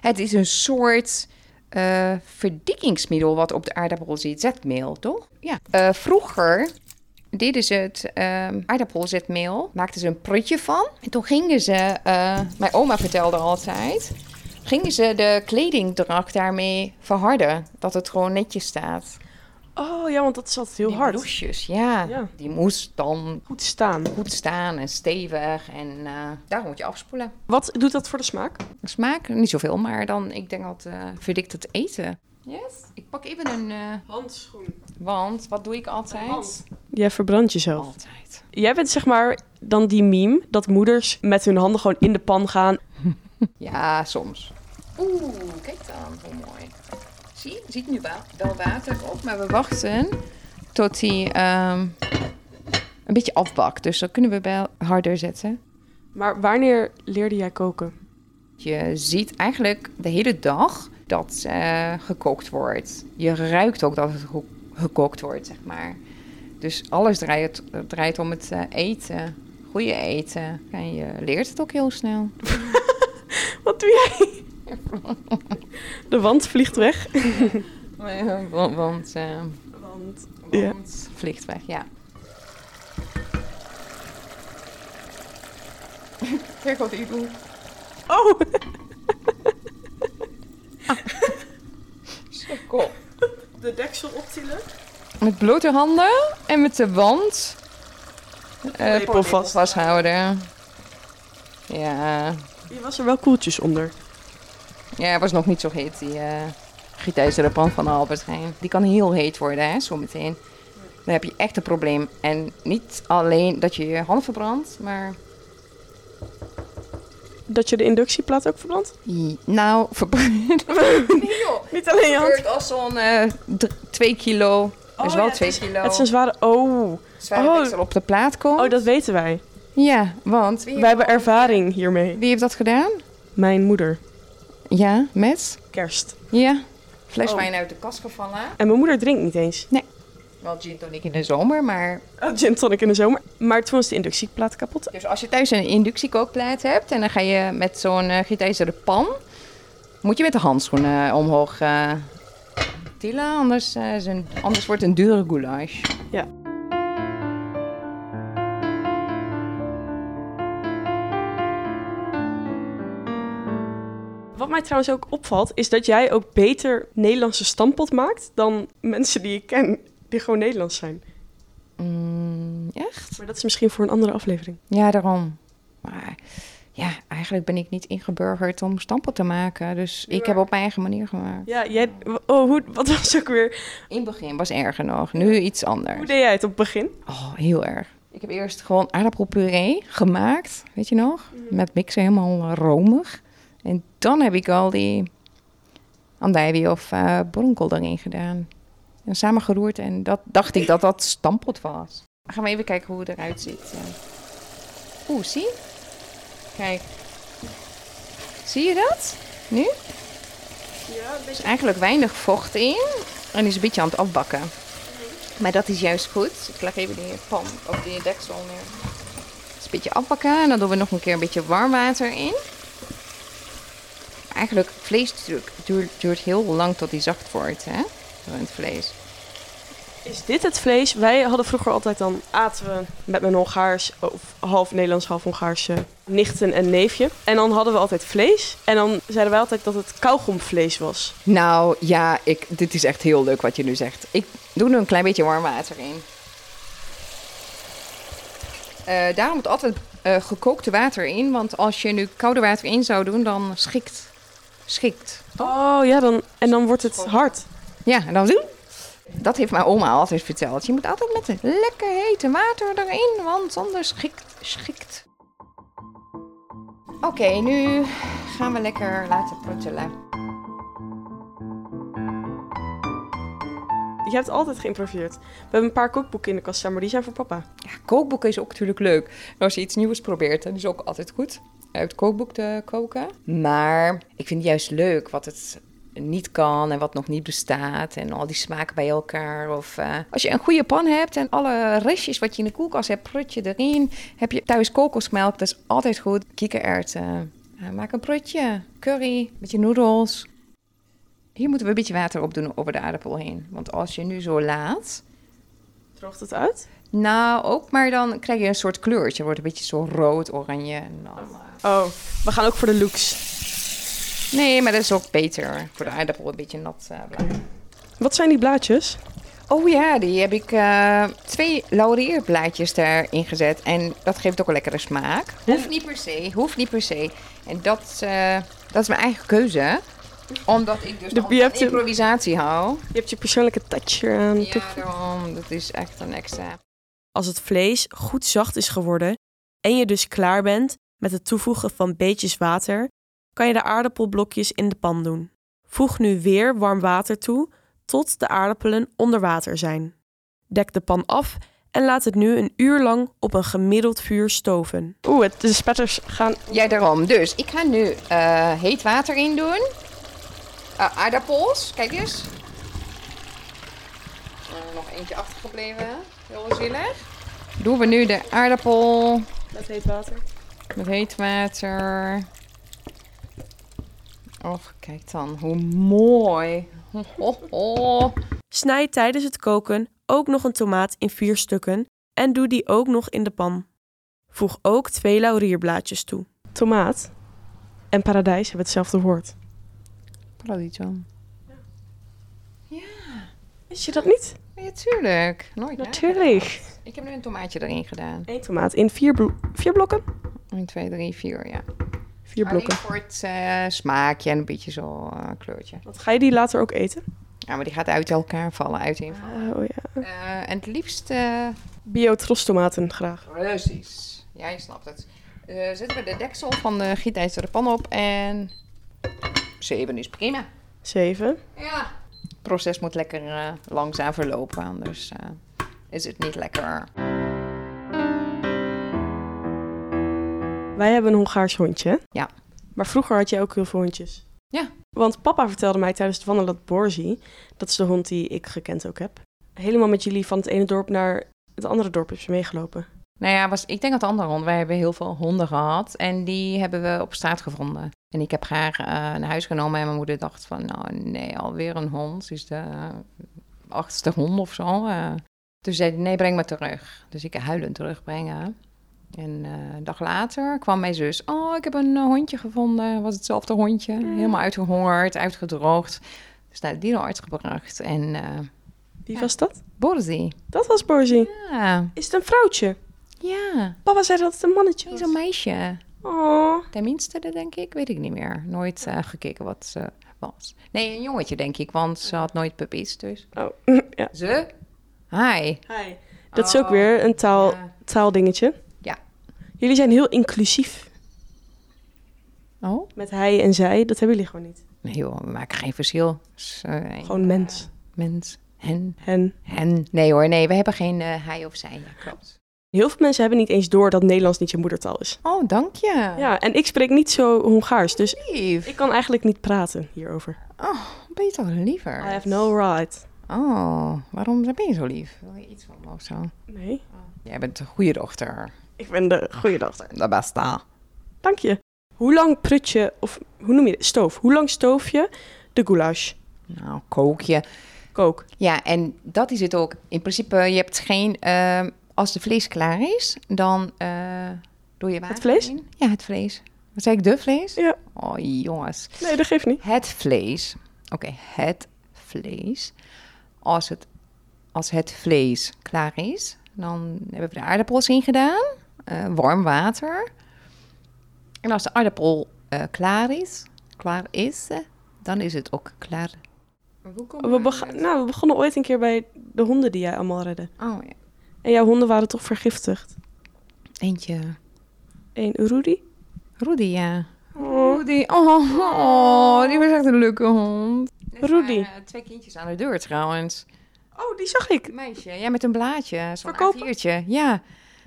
[SPEAKER 3] het is een soort eh, verdikkingsmiddel wat op de aardappel zit. Zetmeel, toch? Ja. Eh, vroeger deden ze het ehm aardappelzetmeel, maakten ze een prutje van. En toen gingen ze, eh, mijn oma vertelde altijd, gingen ze de kledingdracht daarmee verharden. Dat het gewoon netjes staat.
[SPEAKER 1] Oh ja, want dat is altijd heel
[SPEAKER 3] Die
[SPEAKER 1] hard.
[SPEAKER 3] blousejes, ja.
[SPEAKER 1] Ja.
[SPEAKER 3] Die moest dan
[SPEAKER 1] Goed staan.
[SPEAKER 3] goed staan en stevig en eh, daarom moet je afspoelen.
[SPEAKER 1] Wat doet dat voor de smaak?
[SPEAKER 3] Smaak, niet zoveel, maar dan, ik denk dat eh verdikt het eten. Yes. Ik pak even een, eh,
[SPEAKER 1] Handschoen.
[SPEAKER 3] want wat doe ik altijd?
[SPEAKER 1] Jij verbrandt jezelf.
[SPEAKER 3] Altijd.
[SPEAKER 1] Jij bent zeg maar dan die meme dat moeders met hun handen gewoon in de pan gaan.
[SPEAKER 3] Ja, soms. Oeh, kijk dan, hoe mooi. Zie, je ziet nu wa- wel water op, maar we wachten tot hij ehm, een beetje afbakt. Dus dan kunnen we wel harder zetten.
[SPEAKER 1] Maar wanneer leerde jij koken?
[SPEAKER 3] Je ziet eigenlijk de hele dag dat eh, gekookt wordt. Je ruikt ook dat het geko- gekookt wordt, zeg maar. Dus alles draait, draait om het eh, eten. Goede eten. En je leert het ook heel snel.
[SPEAKER 1] Wat doe jij? [LAUGHS] De wand vliegt weg.
[SPEAKER 3] [LAUGHS] Want, want, eh,
[SPEAKER 1] Want, Ja.
[SPEAKER 3] want vliegt weg, [LAUGHS] ja. Kijk wat ik doe.
[SPEAKER 1] Oh,
[SPEAKER 3] Zo cool.
[SPEAKER 1] de deksel optillen.
[SPEAKER 3] Met blote handen en met de wand. eh,
[SPEAKER 1] Lepel vast.
[SPEAKER 3] vasthouden. Ja,
[SPEAKER 1] Je was er wel koeltjes onder.
[SPEAKER 3] Ja, het was nog niet zo heet, die eh gietijzeren pan van Albert Heijn. Die kan heel heet worden, hè, zometeen. Dan heb je echt een probleem. En niet alleen dat je je hand verbrandt, maar...
[SPEAKER 1] Dat je de inductieplaat ook verbrandt?
[SPEAKER 3] Nou, verbrandt... [LAUGHS] nee, joh.
[SPEAKER 1] Niet alleen je hand.
[SPEAKER 3] Het als zo'n eh, dr- 2 kilo. dat is
[SPEAKER 1] Oh,
[SPEAKER 3] wel
[SPEAKER 1] ja,
[SPEAKER 3] 2 kilo.
[SPEAKER 1] Het is een zware... Oh,
[SPEAKER 3] zware
[SPEAKER 1] oh.
[SPEAKER 3] deksel op de plaat komt.
[SPEAKER 1] oh dat weten wij.
[SPEAKER 3] Ja, want...
[SPEAKER 1] Wij hebben ervaring hiermee.
[SPEAKER 3] Wie heeft dat gedaan?
[SPEAKER 1] Mijn moeder.
[SPEAKER 3] Ja, met?
[SPEAKER 1] Kerst.
[SPEAKER 3] Ja. Fles
[SPEAKER 1] Oh.
[SPEAKER 3] wijn uit de kast gevallen.
[SPEAKER 1] En mijn moeder drinkt niet eens. [LAUGHS]
[SPEAKER 3] Wel gin tonic in de zomer, maar...
[SPEAKER 1] Oh, gin tonic in de zomer. Maar toen was de inductieplaat kapot.
[SPEAKER 3] Dus als je thuis een inductiekookplaat hebt en dan ga je met zo'n uh, gietijzeren pan... moet je met de handschoenen omhoog eh tillen, anders, eh, is een- anders wordt het een dure goulash.
[SPEAKER 1] Wat mij trouwens ook opvalt, is dat jij ook beter Nederlandse stampot maakt dan mensen die ik ken die gewoon Nederlands zijn.
[SPEAKER 3] Mm, echt?
[SPEAKER 1] Maar dat is misschien voor een andere aflevering.
[SPEAKER 3] Ja, daarom. Maar ja, eigenlijk ben ik niet ingeburgerd om stampen te maken. Dus ik heb op mijn eigen manier gemaakt.
[SPEAKER 1] Ja, jij. Oh, hoe, wat was ook weer.
[SPEAKER 3] In het begin was erger nog. Nu iets
[SPEAKER 1] Hoe
[SPEAKER 3] anders.
[SPEAKER 1] deed jij het op het begin?
[SPEAKER 3] Oh, heel erg. Ik heb eerst gewoon aardappelpuree gemaakt, weet je nog? Met mixen helemaal eh, romig. En dan heb ik al die andijwie of eh bronkel erin gedaan. En samengeroerd en dat dacht ik dat dat stampot was. Gaan we even kijken hoe het eruit ziet. eh. Oeh, zie? Kijk. Zie je dat? Nu?
[SPEAKER 1] Ja,
[SPEAKER 3] Er is eigenlijk weinig vocht in en is een beetje aan het afbakken. Maar dat is juist goed. Ik leg even die pan op die deksel neer. Het is een beetje afbakken en dan doen we nog een keer een beetje warm water in. Eigenlijk vlees duurt, duurt, duurt heel lang tot die zacht wordt, hè? Zo in het vlees.
[SPEAKER 1] Is dit het vlees? Wij hadden vroeger altijd dan aten we met mijn Hongaars, of half Nederlands, half Hongaarse nichten en neefje. En dan hadden we altijd vlees. En dan zeiden wij altijd dat het kauwgomvlees was.
[SPEAKER 3] Nou ja, ik, dit is echt heel leuk wat je nu zegt. Ik doe er een klein beetje warm water in. Eh, daarom moet altijd eh, gekookte water in, want als je nu koude water in zou doen, dan schikt. Schikt.
[SPEAKER 1] Oh ja, dan, en dan wordt het hard.
[SPEAKER 3] Ja, en dan doen. Dat heeft mijn oma altijd verteld. Je moet altijd met het lekker hete water erin, want anders schikt. schikt. Oké, nu gaan we lekker laten pruttelen.
[SPEAKER 1] Je hebt altijd geïmproviseerd. We hebben een paar kookboeken in de kast staan, maar die zijn voor papa.
[SPEAKER 3] Ja, kookboeken is ook natuurlijk leuk. En als je iets nieuws probeert, dan is ook altijd goed. Uit het kookboek te koken. Maar ik vind het juist leuk wat het niet kan en wat nog niet bestaat. En al die smaken bij elkaar. Of eh, als je een goede pan hebt en alle restjes wat je in de koelkast hebt, prut je erin. Heb je thuis kokosmelk, dat is altijd goed. Kikkererwten. Eh, maak een prutje. Curry, een beetje noedels. Hier moeten we een beetje water op doen over de aardappel heen. Want als je nu zo laat,
[SPEAKER 1] Droogt het uit?
[SPEAKER 3] nou, ook, maar dan krijg je een soort kleurtje. Het wordt een beetje zo rood, oranje. en dan, eh.
[SPEAKER 1] Oh, we gaan ook voor de looks.
[SPEAKER 3] Nee, maar dat is ook beter voor de aardappel, een beetje nat eh, blijven.
[SPEAKER 1] Wat zijn die blaadjes?
[SPEAKER 3] Oh ja, die heb ik eh, twee laurierblaadjes daarin gezet. En dat geeft ook een lekkere smaak. Hoeft niet per se, hoeft niet per se. En dat, eh, dat is mijn eigen keuze. Omdat ik dus
[SPEAKER 1] De
[SPEAKER 3] altijd van
[SPEAKER 1] BFT.
[SPEAKER 3] improvisatie hou.
[SPEAKER 1] Je hebt je persoonlijke touch eraan.
[SPEAKER 3] Ja,
[SPEAKER 1] toegevoegd.
[SPEAKER 3] daarom. Dat is echt een extra.
[SPEAKER 1] Als het vlees goed zacht is geworden en je dus klaar bent met het toevoegen van beetjes water, kan je de aardappelblokjes in de pan doen. Voeg nu weer warm water toe tot de aardappelen onder water zijn. Dek de pan af en laat het nu een uur lang op een gemiddeld vuur stoven. Oeh, het- de spetters gaan.
[SPEAKER 3] Ja, daarom. Dus ik ga nu eh, heet water in doen. Eh, aardappels, kijk eens. Er nog eentje achtergebleven. Heel zielig. Doen we nu de aardappel
[SPEAKER 1] Met heet water.
[SPEAKER 3] met heet water. Och, kijk dan. Hoe mooi. Ho, ho, ho.
[SPEAKER 1] Snijd tijdens het koken ook nog een tomaat in vier stukken en doe die ook nog in de pan. Voeg ook twee laurierblaadjes toe. Tomaat en paradijs hebben hetzelfde woord.
[SPEAKER 3] Paradiso.
[SPEAKER 1] Wist je dat niet?
[SPEAKER 3] Ja, tuurlijk. Nooit
[SPEAKER 1] Natuurlijk.
[SPEAKER 3] nagedacht. Ik heb nu een tomaatje erin gedaan.
[SPEAKER 1] Eén tomaat in vier, blo- vier blokken.
[SPEAKER 3] 1, 2, 3, 4, ja.
[SPEAKER 1] Vier blokken.
[SPEAKER 3] Alleen voor het eh, smaakje en een beetje zo eh, kleurtje.
[SPEAKER 1] Wat ga je die later ook eten?
[SPEAKER 3] Ja, maar die gaat uit elkaar vallen, uiteen vallen.
[SPEAKER 1] Ah, oh ja.
[SPEAKER 3] Eh, en het liefst... eh,
[SPEAKER 1] Biotrostomaten graag.
[SPEAKER 3] Precies. Ja, je snapt het. Eh, zetten we de deksel van de gietijzeren pan op en... Zeven is prima.
[SPEAKER 1] Zeven.
[SPEAKER 3] Ja. Het proces moet lekker eh, langzaam verlopen, anders eh, is het niet lekker.
[SPEAKER 1] Wij hebben een Hongaars hondje.
[SPEAKER 3] Ja.
[SPEAKER 1] Maar vroeger had jij ook heel veel hondjes.
[SPEAKER 3] Ja.
[SPEAKER 1] Want papa vertelde mij tijdens het wandelen dat Borzi, dat is de hond die ik gekend ook heb, helemaal met jullie van het ene dorp naar het andere dorp is meegelopen.
[SPEAKER 3] Nou ja, was, ik denk dat de andere hond. Wij hebben heel veel honden gehad en die hebben we op straat gevonden. En ik heb haar eh, naar huis genomen en mijn moeder dacht van, nou nee, alweer een hond. Ze is de eh, achtste hond of zo. eh. Toen zei ze, nee, breng me terug. Dus ik huilend terugbrengen. En eh, een dag later kwam mijn zus, oh, ik heb een eh, hondje gevonden. Was hetzelfde hondje, helemaal uitgehongerd, uitgedroogd. Dus naar de dierenarts gebracht en eh
[SPEAKER 1] Wie
[SPEAKER 3] Ja.
[SPEAKER 1] was dat?
[SPEAKER 3] Borzi.
[SPEAKER 1] Dat was Borzi.
[SPEAKER 3] Ja,
[SPEAKER 1] Is het een vrouwtje?
[SPEAKER 3] ja.
[SPEAKER 1] Papa zei dat het een mannetje
[SPEAKER 3] Hij
[SPEAKER 1] was.
[SPEAKER 3] is een meisje.
[SPEAKER 1] Oh.
[SPEAKER 3] Tenminste, dat denk ik, weet ik niet meer. Nooit eh, gekeken wat ze was. Nee, een jongetje denk ik, want ze had nooit puppies, dus.
[SPEAKER 1] oh. [LAUGHS] ja.
[SPEAKER 3] Ze? Hi.
[SPEAKER 1] Hi. Dat is ook
[SPEAKER 3] Oh,
[SPEAKER 1] weer een taal,
[SPEAKER 3] ja.
[SPEAKER 1] taaldingetje.
[SPEAKER 3] Ja.
[SPEAKER 1] Jullie zijn heel inclusief
[SPEAKER 3] Oh?
[SPEAKER 1] met hij en zij. Dat hebben jullie gewoon niet.
[SPEAKER 3] Nee joh, we maken geen verschil. Ze- eh,
[SPEAKER 1] Gewoon mens.
[SPEAKER 3] Mens. Hen.
[SPEAKER 1] Hen.
[SPEAKER 3] Hen. Nee hoor, nee, we hebben geen eh, hij of zij. Ja, klopt.
[SPEAKER 1] Heel veel mensen hebben niet eens door dat Nederlands niet je moedertaal is.
[SPEAKER 3] Oh, dank je.
[SPEAKER 1] Ja, en ik spreek niet zo Hongaars, dus
[SPEAKER 3] Lief.
[SPEAKER 1] ik kan eigenlijk niet praten hierover.
[SPEAKER 3] Oh, ben je toch liever?
[SPEAKER 1] I have no right.
[SPEAKER 3] Oh, waarom ben je zo lief? Wil je iets van me of zo? Oh,
[SPEAKER 1] Nee,
[SPEAKER 3] Jij bent een goede dochter.
[SPEAKER 1] ik ben de goede dochter.
[SPEAKER 3] De beste.
[SPEAKER 1] Dank je. Hoe lang prut je, of hoe noem je dit? Stoof. Hoe lang stoof je de goulash?
[SPEAKER 3] Nou, kook je.
[SPEAKER 1] Kook.
[SPEAKER 3] Ja, en dat is het ook. In principe, je hebt geen... ehm, als de vlees klaar is, dan eh, doe je water
[SPEAKER 1] vlees?
[SPEAKER 3] in. Ja, het vlees. Wat zei ik, de vlees?
[SPEAKER 1] Ja.
[SPEAKER 3] Oh, jongens.
[SPEAKER 1] Nee, dat geeft niet.
[SPEAKER 3] Het vlees. Oké, het vlees. Als het, als het vlees klaar is, dan hebben we de aardappels in gedaan. eh, warm water. En als de aardappel eh, klaar is, klaar is, eh, dan is het ook klaar.
[SPEAKER 1] We, bega- nou, we begonnen ooit een keer bij de honden die jij allemaal redde.
[SPEAKER 3] Oh ja,
[SPEAKER 1] En jouw honden waren toch vergiftigd?
[SPEAKER 3] eentje.
[SPEAKER 1] Eén, Rudy?
[SPEAKER 3] Rudy, ja.
[SPEAKER 1] Oh.
[SPEAKER 3] Rudy, oh, oh, die was echt een leuke hond.
[SPEAKER 1] Rudy.
[SPEAKER 3] eh, twee kindjes aan de deur trouwens.
[SPEAKER 1] oh, die zag ik.
[SPEAKER 3] Meisje, ja, met een blaadje, zo'n
[SPEAKER 1] Verkopen?
[SPEAKER 3] A4'tje. Ja.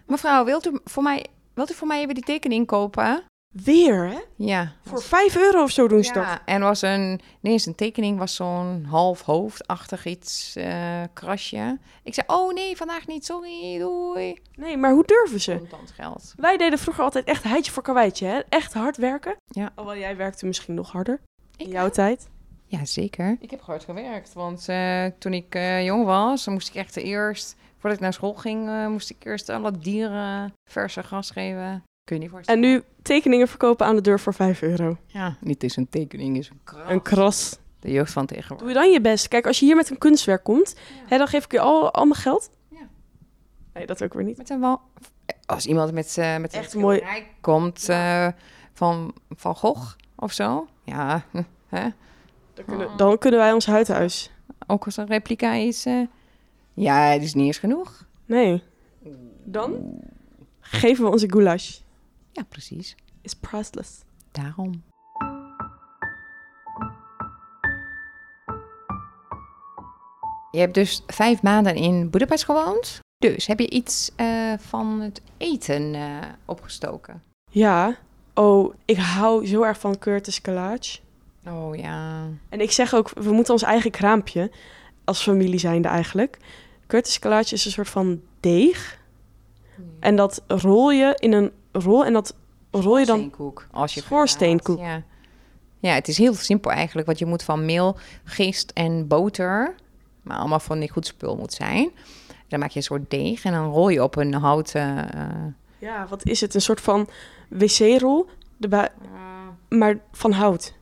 [SPEAKER 3] Mevrouw, wilt u, voor mij, wilt u voor mij even die tekening kopen?
[SPEAKER 1] Weer, hè?
[SPEAKER 3] Ja.
[SPEAKER 1] Voor 5 euro of zo doen ze dat.
[SPEAKER 3] ja. En was een, nee, eens een tekening was zo'n half hoofdachtig iets, eh, krasje. Ik zei, oh nee, vandaag niet, sorry, doei.
[SPEAKER 1] Nee, maar hoe durven ze?
[SPEAKER 3] Contant geld.
[SPEAKER 1] Wij deden vroeger altijd echt heidje voor karweitje, hè? Echt hard werken.
[SPEAKER 3] Ja.
[SPEAKER 1] Alhoewel jij werkte misschien nog harder.
[SPEAKER 3] Ik
[SPEAKER 1] in jouw tijd.
[SPEAKER 3] Ja, zeker. Ik heb hard gewerkt, want eh, toen ik eh, jong was, dan moest ik echt eerst, voordat ik naar school ging, eh, moest ik eerst alle dieren verse gras geven. Kun je niet
[SPEAKER 1] En
[SPEAKER 3] voorstellen.
[SPEAKER 1] nu tekeningen verkopen aan de deur voor 5 euro.
[SPEAKER 3] Ja, niet eens een tekening, is een kras.
[SPEAKER 1] Een kras.
[SPEAKER 3] De jeugd van
[SPEAKER 1] Doe je
[SPEAKER 3] tegenwoordig.
[SPEAKER 1] dan je best. Kijk, als je hier met een kunstwerk komt, hè, dan geef ik je al, al mijn geld.
[SPEAKER 3] Ja.
[SPEAKER 1] Nee, dat ook weer niet.
[SPEAKER 3] Met een wel, als iemand met, eh met
[SPEAKER 1] Echt mooi.
[SPEAKER 3] schilderij komt eh, van Van Gogh of zo. Ja, [LAUGHS] hm, hè?
[SPEAKER 1] Dan kunnen, dan kunnen wij ons huidhuis.
[SPEAKER 3] ook als een replica is. eh, ja, het is niet eens genoeg.
[SPEAKER 1] Nee. Dan geven we onze goulash.
[SPEAKER 3] Ja, precies.
[SPEAKER 1] Is priceless.
[SPEAKER 3] Daarom. Je hebt dus vijf maanden in Boedapest gewoond. Dus heb je iets eh, van het eten eh, opgestoken?
[SPEAKER 1] Ja. Oh, ik hou zo erg van Curtis Kalaj.
[SPEAKER 3] Oh ja.
[SPEAKER 1] En ik zeg ook, we moeten ons eigen kraampje, als familie zijnde eigenlijk. Curtis kalaatje is een soort van deeg. En dat rol je in een rol en dat rol je dan...
[SPEAKER 3] Schoorsteenkoek, Als je
[SPEAKER 1] Schoorsteenkoek.
[SPEAKER 3] gedaan had, Ja. ja, het is heel simpel eigenlijk. Want je moet van meel, gist en boter... maar allemaal van die goed spul moet zijn. En dan maak je een soort deeg en dan rol je op een houten... eh,
[SPEAKER 1] Ja, wat is het? Een soort van wc-rol, de bui- maar van hout.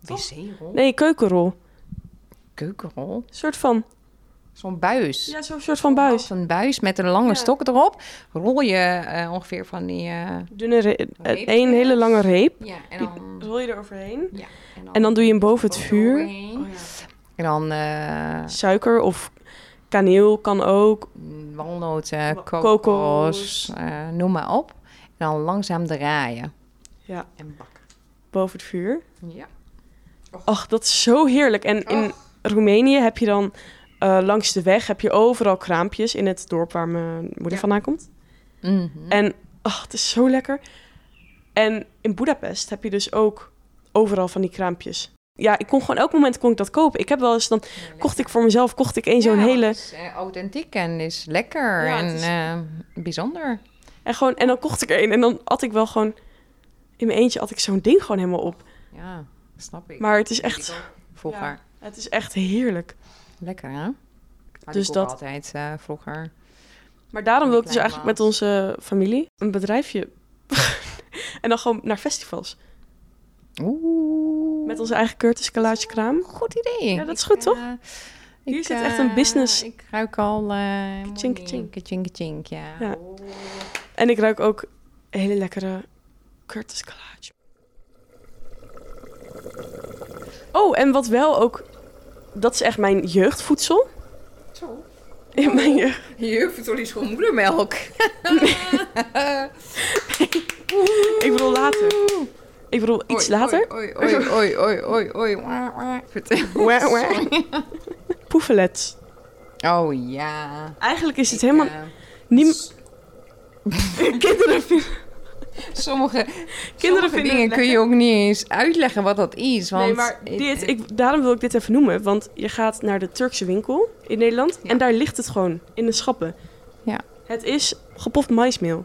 [SPEAKER 3] wc-rol?
[SPEAKER 1] Nee, keukenrol.
[SPEAKER 3] Keukenrol?
[SPEAKER 1] Een soort van...
[SPEAKER 3] Zo'n buis.
[SPEAKER 5] Ja, zo'n soort van buis.
[SPEAKER 3] Een buis met een lange
[SPEAKER 5] Ja.
[SPEAKER 3] stok erop. Rol je eh, ongeveer van die... eh,
[SPEAKER 5] Dunne re-
[SPEAKER 3] Reep.
[SPEAKER 5] één hele lange reep.
[SPEAKER 3] ja, en
[SPEAKER 5] Die
[SPEAKER 3] dan...
[SPEAKER 5] rol je eroverheen.
[SPEAKER 3] Ja,
[SPEAKER 5] En dan doe je hem boven het vuur.
[SPEAKER 3] overheen. En dan eh,
[SPEAKER 5] Suiker of kaneel kan ook. Wa-
[SPEAKER 3] walnoten, kokos,
[SPEAKER 5] kokos.
[SPEAKER 3] eh, noem maar op. En dan langzaam draaien.
[SPEAKER 5] Ja.
[SPEAKER 3] En bakken.
[SPEAKER 5] Boven het vuur.
[SPEAKER 3] Ja.
[SPEAKER 5] Ach, dat is zo heerlijk. En in Roemenië heb je dan eh, langs de weg heb je overal kraampjes in het dorp waar mijn moeder
[SPEAKER 3] Ja.
[SPEAKER 5] vandaan komt.
[SPEAKER 3] Mhm.
[SPEAKER 5] En ach, het is zo lekker. En in Budapest heb je dus ook overal van die kraampjes. Ja, ik kon gewoon elk moment kon ik dat kopen. Ik heb wel eens dan kocht ik voor mezelf kocht ik één zo'n
[SPEAKER 3] Ja,
[SPEAKER 5] hele
[SPEAKER 3] het is, eh, authentiek en is lekker
[SPEAKER 5] Ja,
[SPEAKER 3] en
[SPEAKER 5] het is-
[SPEAKER 3] eh, bijzonder.
[SPEAKER 5] en gewoon en dan kocht ik één en dan at ik wel gewoon in mijn eentje at ik zo'n ding gewoon helemaal op.
[SPEAKER 3] Ja, snap ik.
[SPEAKER 5] Maar het is echt
[SPEAKER 3] vroeger.
[SPEAKER 5] Ja. het is echt heerlijk.
[SPEAKER 3] Lekker, hè? Had
[SPEAKER 5] Dus
[SPEAKER 3] ik ook
[SPEAKER 5] dat-
[SPEAKER 3] altijd eh, vroeger.
[SPEAKER 5] Maar daarom wil ik dus
[SPEAKER 3] Kleine
[SPEAKER 5] eigenlijk met
[SPEAKER 3] maat.
[SPEAKER 5] onze familie een bedrijfje [LAUGHS] en dan gewoon naar festivals
[SPEAKER 3] Oeh.
[SPEAKER 5] met onze eigen Curtis Kalaatje kraam.
[SPEAKER 3] Goed idee.
[SPEAKER 5] Ja, dat is
[SPEAKER 3] Ik,
[SPEAKER 5] goed, toch?
[SPEAKER 3] eh,
[SPEAKER 5] Hier
[SPEAKER 3] ik,
[SPEAKER 5] zit echt een
[SPEAKER 3] eh,
[SPEAKER 5] business.
[SPEAKER 3] Ik ruik al... eh money.
[SPEAKER 5] Ka-ching, ka-ching.
[SPEAKER 3] Ka-ching, ka-ching, ja.
[SPEAKER 5] Ja. En ik ruik ook een hele lekkere Curtis Kalaatje. Oh, en wat wel ook... Dat is echt mijn jeugdvoedsel. [LAUGHS]
[SPEAKER 3] Zo.
[SPEAKER 5] Ja, mijn jeugd-
[SPEAKER 3] Je verdorie is gewoon moedermelk.
[SPEAKER 5] Ik bedoel later. Ik bedoel [LAUGHS] iets later.
[SPEAKER 3] Oei, oei, oei, oei, oei, oei. Wah, wah. Vertel.
[SPEAKER 5] [LAUGHS] Wah, wah. Poefelet.
[SPEAKER 3] Oh ja.
[SPEAKER 5] Eigenlijk is het
[SPEAKER 3] Ik,
[SPEAKER 5] helemaal
[SPEAKER 3] eh,
[SPEAKER 5] niet... Kinderen vinden...
[SPEAKER 3] Sommige,
[SPEAKER 5] Kinderen
[SPEAKER 3] sommige
[SPEAKER 5] vinden
[SPEAKER 3] dingen
[SPEAKER 5] het
[SPEAKER 3] kun je ook niet eens uitleggen wat dat is. Want
[SPEAKER 5] nee, maar
[SPEAKER 3] het-
[SPEAKER 5] dit, ik, daarom wil ik dit even noemen. Want je gaat naar de Turkse winkel in Nederland.
[SPEAKER 3] Ja.
[SPEAKER 5] En daar ligt het gewoon in de schappen.
[SPEAKER 3] Ja.
[SPEAKER 5] Het is gepoft maismeel.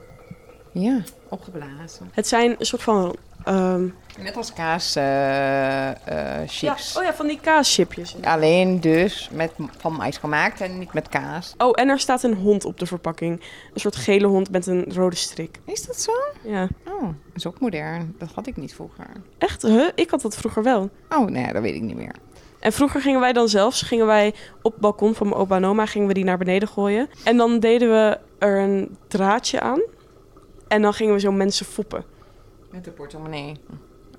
[SPEAKER 3] Ja, opgeblazen.
[SPEAKER 5] Het zijn een soort van... ehm,
[SPEAKER 3] Net als kaas eh, eh, chips.
[SPEAKER 5] Ja, oh ja, van die kaaschipjes.
[SPEAKER 3] Alleen dus met, van mais gemaakt en niet met kaas.
[SPEAKER 5] Oh, en er staat een hond op de verpakking. Een soort gele hond met een rode strik.
[SPEAKER 3] Is dat zo?
[SPEAKER 5] Ja.
[SPEAKER 3] Oh, dat is ook modern. Dat had ik niet vroeger.
[SPEAKER 5] Echt, huh? Ik had dat vroeger wel.
[SPEAKER 3] Oh, nee, dat weet ik niet meer.
[SPEAKER 5] En vroeger gingen wij dan zelfs, gingen wij op het balkon van mijn opa en oma, gingen we die naar beneden gooien. En dan deden we er een draadje aan. En dan gingen we zo mensen foppen.
[SPEAKER 3] Met de portemonnee.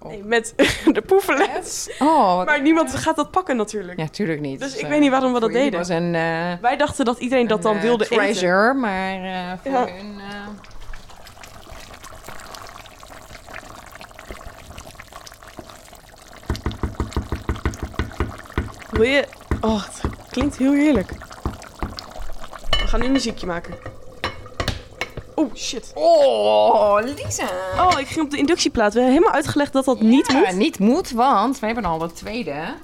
[SPEAKER 5] Nee, met [LAUGHS] de poefelet.
[SPEAKER 3] Oh, wat...
[SPEAKER 5] Maar niemand gaat dat pakken natuurlijk.
[SPEAKER 3] ja, tuurlijk niet.
[SPEAKER 5] Dus ik
[SPEAKER 3] eh,
[SPEAKER 5] weet niet waarom we
[SPEAKER 3] voor
[SPEAKER 5] dat
[SPEAKER 3] jullie
[SPEAKER 5] deden.
[SPEAKER 3] was een, eh,
[SPEAKER 5] Wij dachten dat iedereen dat dan
[SPEAKER 3] een, eh,
[SPEAKER 5] wilde eten.
[SPEAKER 3] treasure, maar eh, voor
[SPEAKER 5] Ja.
[SPEAKER 3] hun... eh,
[SPEAKER 5] Wil je... Oh, het klinkt heel heerlijk. We gaan nu een muziekje maken. Oh, shit.
[SPEAKER 3] Oh, Lisa.
[SPEAKER 5] Oh, ik ging op de inductieplaat. We hebben helemaal uitgelegd dat dat niet
[SPEAKER 3] Ja,
[SPEAKER 5] moet.
[SPEAKER 3] niet moet, want we hebben al de tweede.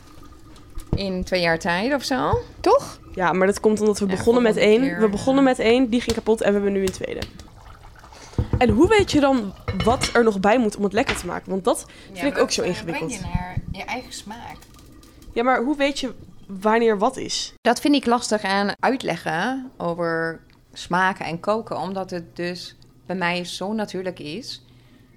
[SPEAKER 3] In twee jaar tijd of zo. Toch?
[SPEAKER 5] Ja, maar dat komt omdat we
[SPEAKER 3] Ja,
[SPEAKER 5] begonnen met
[SPEAKER 3] volgende
[SPEAKER 5] één.
[SPEAKER 3] keer,
[SPEAKER 5] We begonnen met één, die ging kapot en we hebben nu een tweede. En hoe weet je dan wat er nog bij moet om het lekker te maken? Want dat vind ik ook zo ingewikkeld.
[SPEAKER 3] naar eh, je eigen smaak.
[SPEAKER 5] Ja, maar hoe weet je wanneer wat is?
[SPEAKER 3] Dat vind ik lastig aan uitleggen over smaken en koken. Omdat het dus bij mij zo natuurlijk is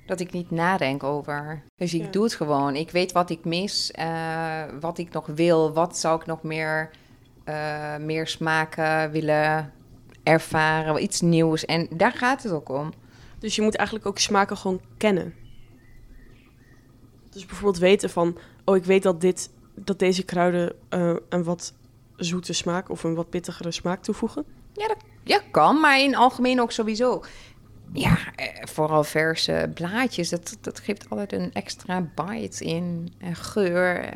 [SPEAKER 3] dat ik niet nadenk over. Dus ik
[SPEAKER 5] Ja.
[SPEAKER 3] doe het gewoon. Ik weet wat ik mis, eh, wat ik nog wil. Wat zou ik nog meer, eh, meer smaken willen ervaren. Iets nieuws. En daar gaat het ook om.
[SPEAKER 5] Dus je moet eigenlijk ook smaken gewoon kennen. Dus bijvoorbeeld weten van, oh, ik weet dat, dit, dat deze kruiden eh, een wat zoete smaak of een wat pittigere smaak toevoegen.
[SPEAKER 3] Ja, dat ja, kan, maar in algemeen ook sowieso. Ja, eh, vooral verse blaadjes, dat, dat geeft altijd een extra bite in. En geur. eh,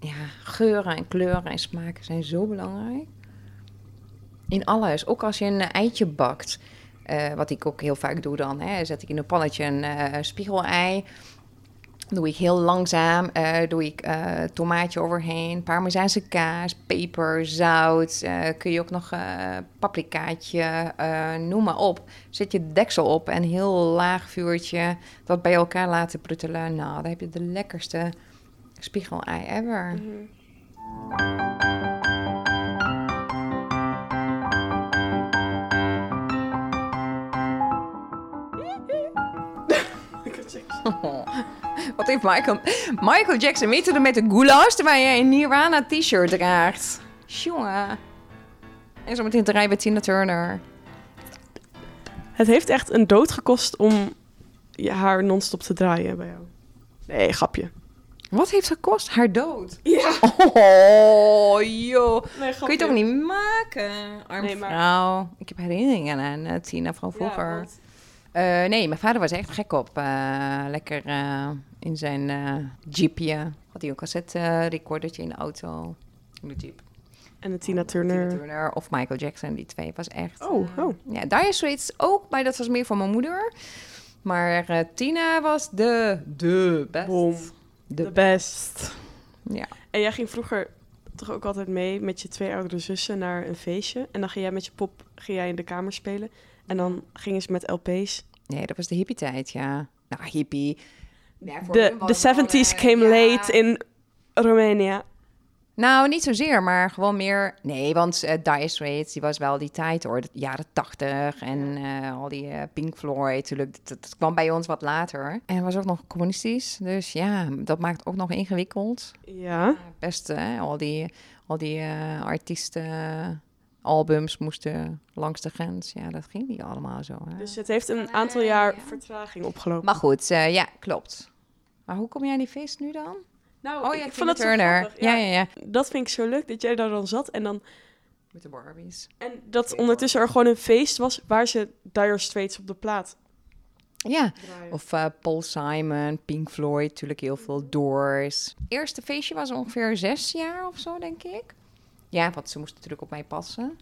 [SPEAKER 3] Ja, geuren en kleuren en smaken zijn zo belangrijk. In alles, ook als je een eitje bakt. eh, wat ik ook heel vaak doe dan, hè, zet ik in een pannetje een eh spiegelei. Doe ik heel langzaam, eh, doe ik eh, tomaatje overheen, parmezaanse kaas, peper, zout. eh, kun je ook nog eh, paprikaatje, eh, noem maar op. Zet je deksel op en heel laag vuurtje dat bij elkaar laten pruttelen. Nou, dan heb je de lekkerste spiegelei ever. [LAUGHS] Wat heeft Michael... Michael Jackson mee te doen met de goulash terwijl jij een Nirvana t-shirt draagt? Jongen. En zo meteen draaien we Tina Turner.
[SPEAKER 5] Het heeft echt een dood gekost om je haar non-stop te draaien bij jou. Nee, grapje.
[SPEAKER 3] Wat heeft gekost? Haar dood.
[SPEAKER 5] Ja.
[SPEAKER 3] Oh, joh.
[SPEAKER 5] Nee,
[SPEAKER 3] Kun je het ook niet maken, arme
[SPEAKER 5] Nee, maar-
[SPEAKER 3] vrouw. Ik heb herinneringen aan eh, Tina van vroeger. Eh, nee, mijn vader was echt gek op. eh, lekker eh, in zijn eh, jeepje. Had hij een cassette-recordertje in de auto. In de jeep.
[SPEAKER 5] En de
[SPEAKER 3] Tina
[SPEAKER 5] Tina Turner.
[SPEAKER 3] Turner of Michael Jackson, die twee. Was echt...
[SPEAKER 5] Oh,
[SPEAKER 3] eh,
[SPEAKER 5] oh.
[SPEAKER 3] Ja, Dire Straits ook, maar dat was meer van mijn moeder. Maar eh, Tina was de, de best.
[SPEAKER 5] Bom.
[SPEAKER 3] De,
[SPEAKER 5] De best.
[SPEAKER 3] Ja.
[SPEAKER 5] En jij ging vroeger toch ook altijd mee met je twee oudere zussen naar een feestje. En dan ging jij met je pop ging jij in de kamer spelen. En dan gingen ze met LP's.
[SPEAKER 3] Nee, dat was de hippie tijd, ja. Nou, hippie. Ja, voor
[SPEAKER 5] De,
[SPEAKER 3] hun was
[SPEAKER 5] de
[SPEAKER 3] het wel,
[SPEAKER 5] 70s
[SPEAKER 3] eh,
[SPEAKER 5] came
[SPEAKER 3] ja.
[SPEAKER 5] late in Roemenië.
[SPEAKER 3] Nou, niet zozeer, maar gewoon meer... Nee, want eh Dire Straits, die was wel die tijd hoor. De jaren tachtig en eh, al die eh, Pink Floyd. Natuurlijk, dat, dat kwam bij ons wat later. En het was ook nog communistisch. Dus ja, dat maakt ook nog ingewikkeld.
[SPEAKER 5] Ja.
[SPEAKER 3] Best, hè? Al die, al die eh, artiesten... Albums moesten langs de grens. Ja, dat ging niet allemaal zo. Hè?
[SPEAKER 5] Dus het heeft een aantal jaar vertraging opgelopen.
[SPEAKER 3] Maar goed, eh, ja, klopt. Maar hoe kom jij aan die feest nu dan?
[SPEAKER 5] nou,
[SPEAKER 3] Oh ja, Tina Turner. ja, ja, ja.
[SPEAKER 5] Dat vind ik zo leuk dat jij daar dan zat. En, dan,
[SPEAKER 3] Met de Barbies.
[SPEAKER 5] en dat ondertussen er gewoon een feest was waar ze Dire Straits op de plaat
[SPEAKER 3] Ja,
[SPEAKER 5] draaien.
[SPEAKER 3] of eh, Paul Simon, Pink Floyd, natuurlijk heel veel Doors. Eerste feestje was ongeveer zes jaar of zo, denk ik. Ja, want ze moesten natuurlijk op mij passen.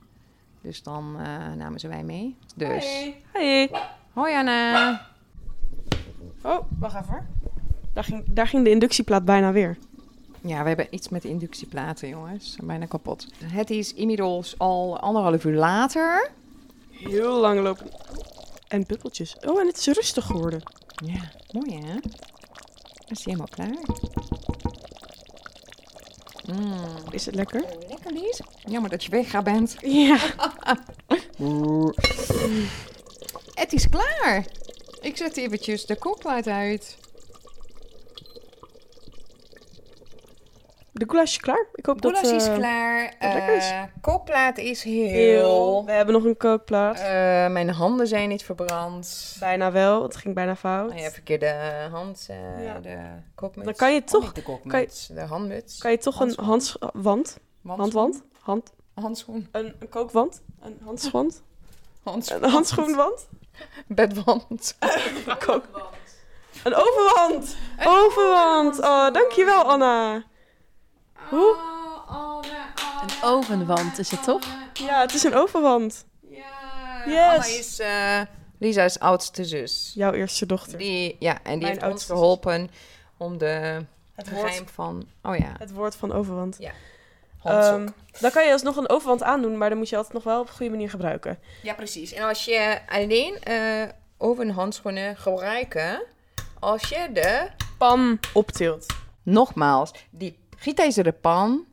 [SPEAKER 3] Dus dan eh, namen ze mij mee. Dus,
[SPEAKER 5] Hey. Hey.
[SPEAKER 3] hoi Anna.
[SPEAKER 5] Oh, wacht even hoor. Daar ging, daar ging de inductieplaat bijna weer.
[SPEAKER 3] Ja, we hebben iets met inductieplaten, jongens. Zijn Bijna kapot. Het is inmiddels al anderhalf uur later.
[SPEAKER 5] Heel lang lopen. En bubbeltjes. Oh, en het is rustig geworden.
[SPEAKER 3] Ja, mooi hè? Is die helemaal klaar? Mm.
[SPEAKER 5] Is het lekker?
[SPEAKER 3] Lekker Lies. Jammer dat je wegga bent.
[SPEAKER 5] Ja.
[SPEAKER 3] Het is klaar. Ik zet eventjes de kookplaat uit.
[SPEAKER 5] De goulash is klaar. Ik hoop
[SPEAKER 3] Goulas
[SPEAKER 5] dat...
[SPEAKER 3] is
[SPEAKER 5] eh,
[SPEAKER 3] klaar.
[SPEAKER 5] dat lekker is.
[SPEAKER 3] Eh, kookplaat is
[SPEAKER 5] Heel.
[SPEAKER 3] heel.
[SPEAKER 5] We hebben nog een kookplaat.
[SPEAKER 3] Eh, mijn handen zijn niet verbrand.
[SPEAKER 5] bijna wel. Het ging bijna fout.
[SPEAKER 3] Oh, je hebt verkeerde hand. eh,
[SPEAKER 5] Ja.
[SPEAKER 3] De kokmuts.
[SPEAKER 5] Dan kan je
[SPEAKER 3] Oh,
[SPEAKER 5] toch-
[SPEAKER 3] niet de kokmuts. De handmuts.
[SPEAKER 5] Kan je toch een handswand?
[SPEAKER 3] Handschoen.
[SPEAKER 5] Handwand? Hand,
[SPEAKER 3] Handschoen.
[SPEAKER 5] een, een kookwand? Een
[SPEAKER 3] [LAUGHS]
[SPEAKER 5] handswand?
[SPEAKER 3] Handschoen.
[SPEAKER 5] Een handschoenwand?
[SPEAKER 3] Bedwand.
[SPEAKER 5] Een kook... Een overwand! Overwand! Oh, dankjewel Anna. Hoe?
[SPEAKER 6] Een ovenwand is het toch?
[SPEAKER 5] Ja, het is een overwand.
[SPEAKER 3] Ja.
[SPEAKER 5] Yes.
[SPEAKER 3] Anna is eh, Lisa's oudste zus.
[SPEAKER 5] Jouw eerste dochter.
[SPEAKER 3] Die, ja, en die
[SPEAKER 5] Mijn
[SPEAKER 3] heeft ons
[SPEAKER 5] oudste zus.
[SPEAKER 3] geholpen om de
[SPEAKER 5] Het woord,
[SPEAKER 3] geheim van... Oh ja,
[SPEAKER 5] het woord van overwand.
[SPEAKER 3] handsok.
[SPEAKER 5] Ehm, dan kan je alsnog een overwand aandoen, maar dan moet je altijd nog wel op een goede manier gebruiken.
[SPEAKER 3] ja, precies. En als je alleen eh ovenhandschoenen gebruiken, als je de...
[SPEAKER 5] Pan optilt.
[SPEAKER 3] Nogmaals, die gietijzeren pan,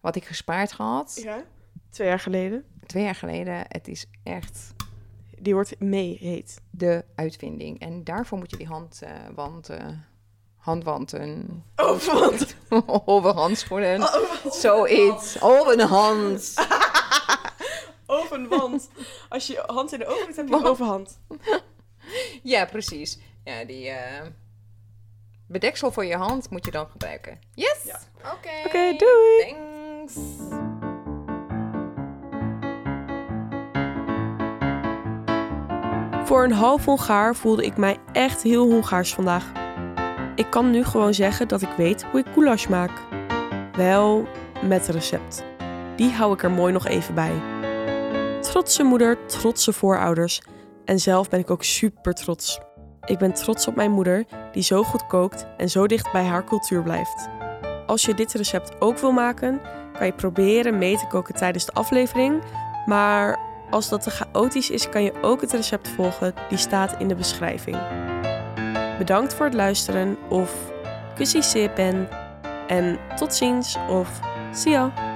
[SPEAKER 3] wat ik gespaard had,
[SPEAKER 5] Ja. Twee jaar geleden.
[SPEAKER 3] twee jaar geleden, het is echt
[SPEAKER 5] Die wordt mee heet.
[SPEAKER 3] de uitvinding. En daarvoor moet je die handwanten... handwanten... [LAUGHS]
[SPEAKER 5] Overwand.
[SPEAKER 3] Overhandschoenen. Zoiets. Overhand.
[SPEAKER 5] [LAUGHS] Overwand. Als je je hand in de oven hebt, heb je een overhand.
[SPEAKER 3] Ja, precies. Ja, die eh, bedeksel voor je hand moet je dan gebruiken. Yes!
[SPEAKER 5] Ja.
[SPEAKER 3] Oké.
[SPEAKER 5] Oké, doei.
[SPEAKER 3] Thanks.
[SPEAKER 5] Voor een half Hongaar voelde ik mij echt heel Hongaars vandaag. Ik kan nu gewoon zeggen dat ik weet hoe ik goulash maak. Wel, met een recept. Die hou ik er mooi nog even bij. Trotse moeder, trotse voorouders. En zelf ben ik ook super trots. Ik ben trots op mijn moeder, die zo goed kookt en zo dicht bij haar cultuur blijft. Als je dit recept ook wil maken, kan je proberen mee te koken tijdens de aflevering. Maar als dat te chaotisch is, kan je ook het recept volgen, die staat in de beschrijving. Bedankt voor het luisteren of kussie sepen en tot ziens of see ya!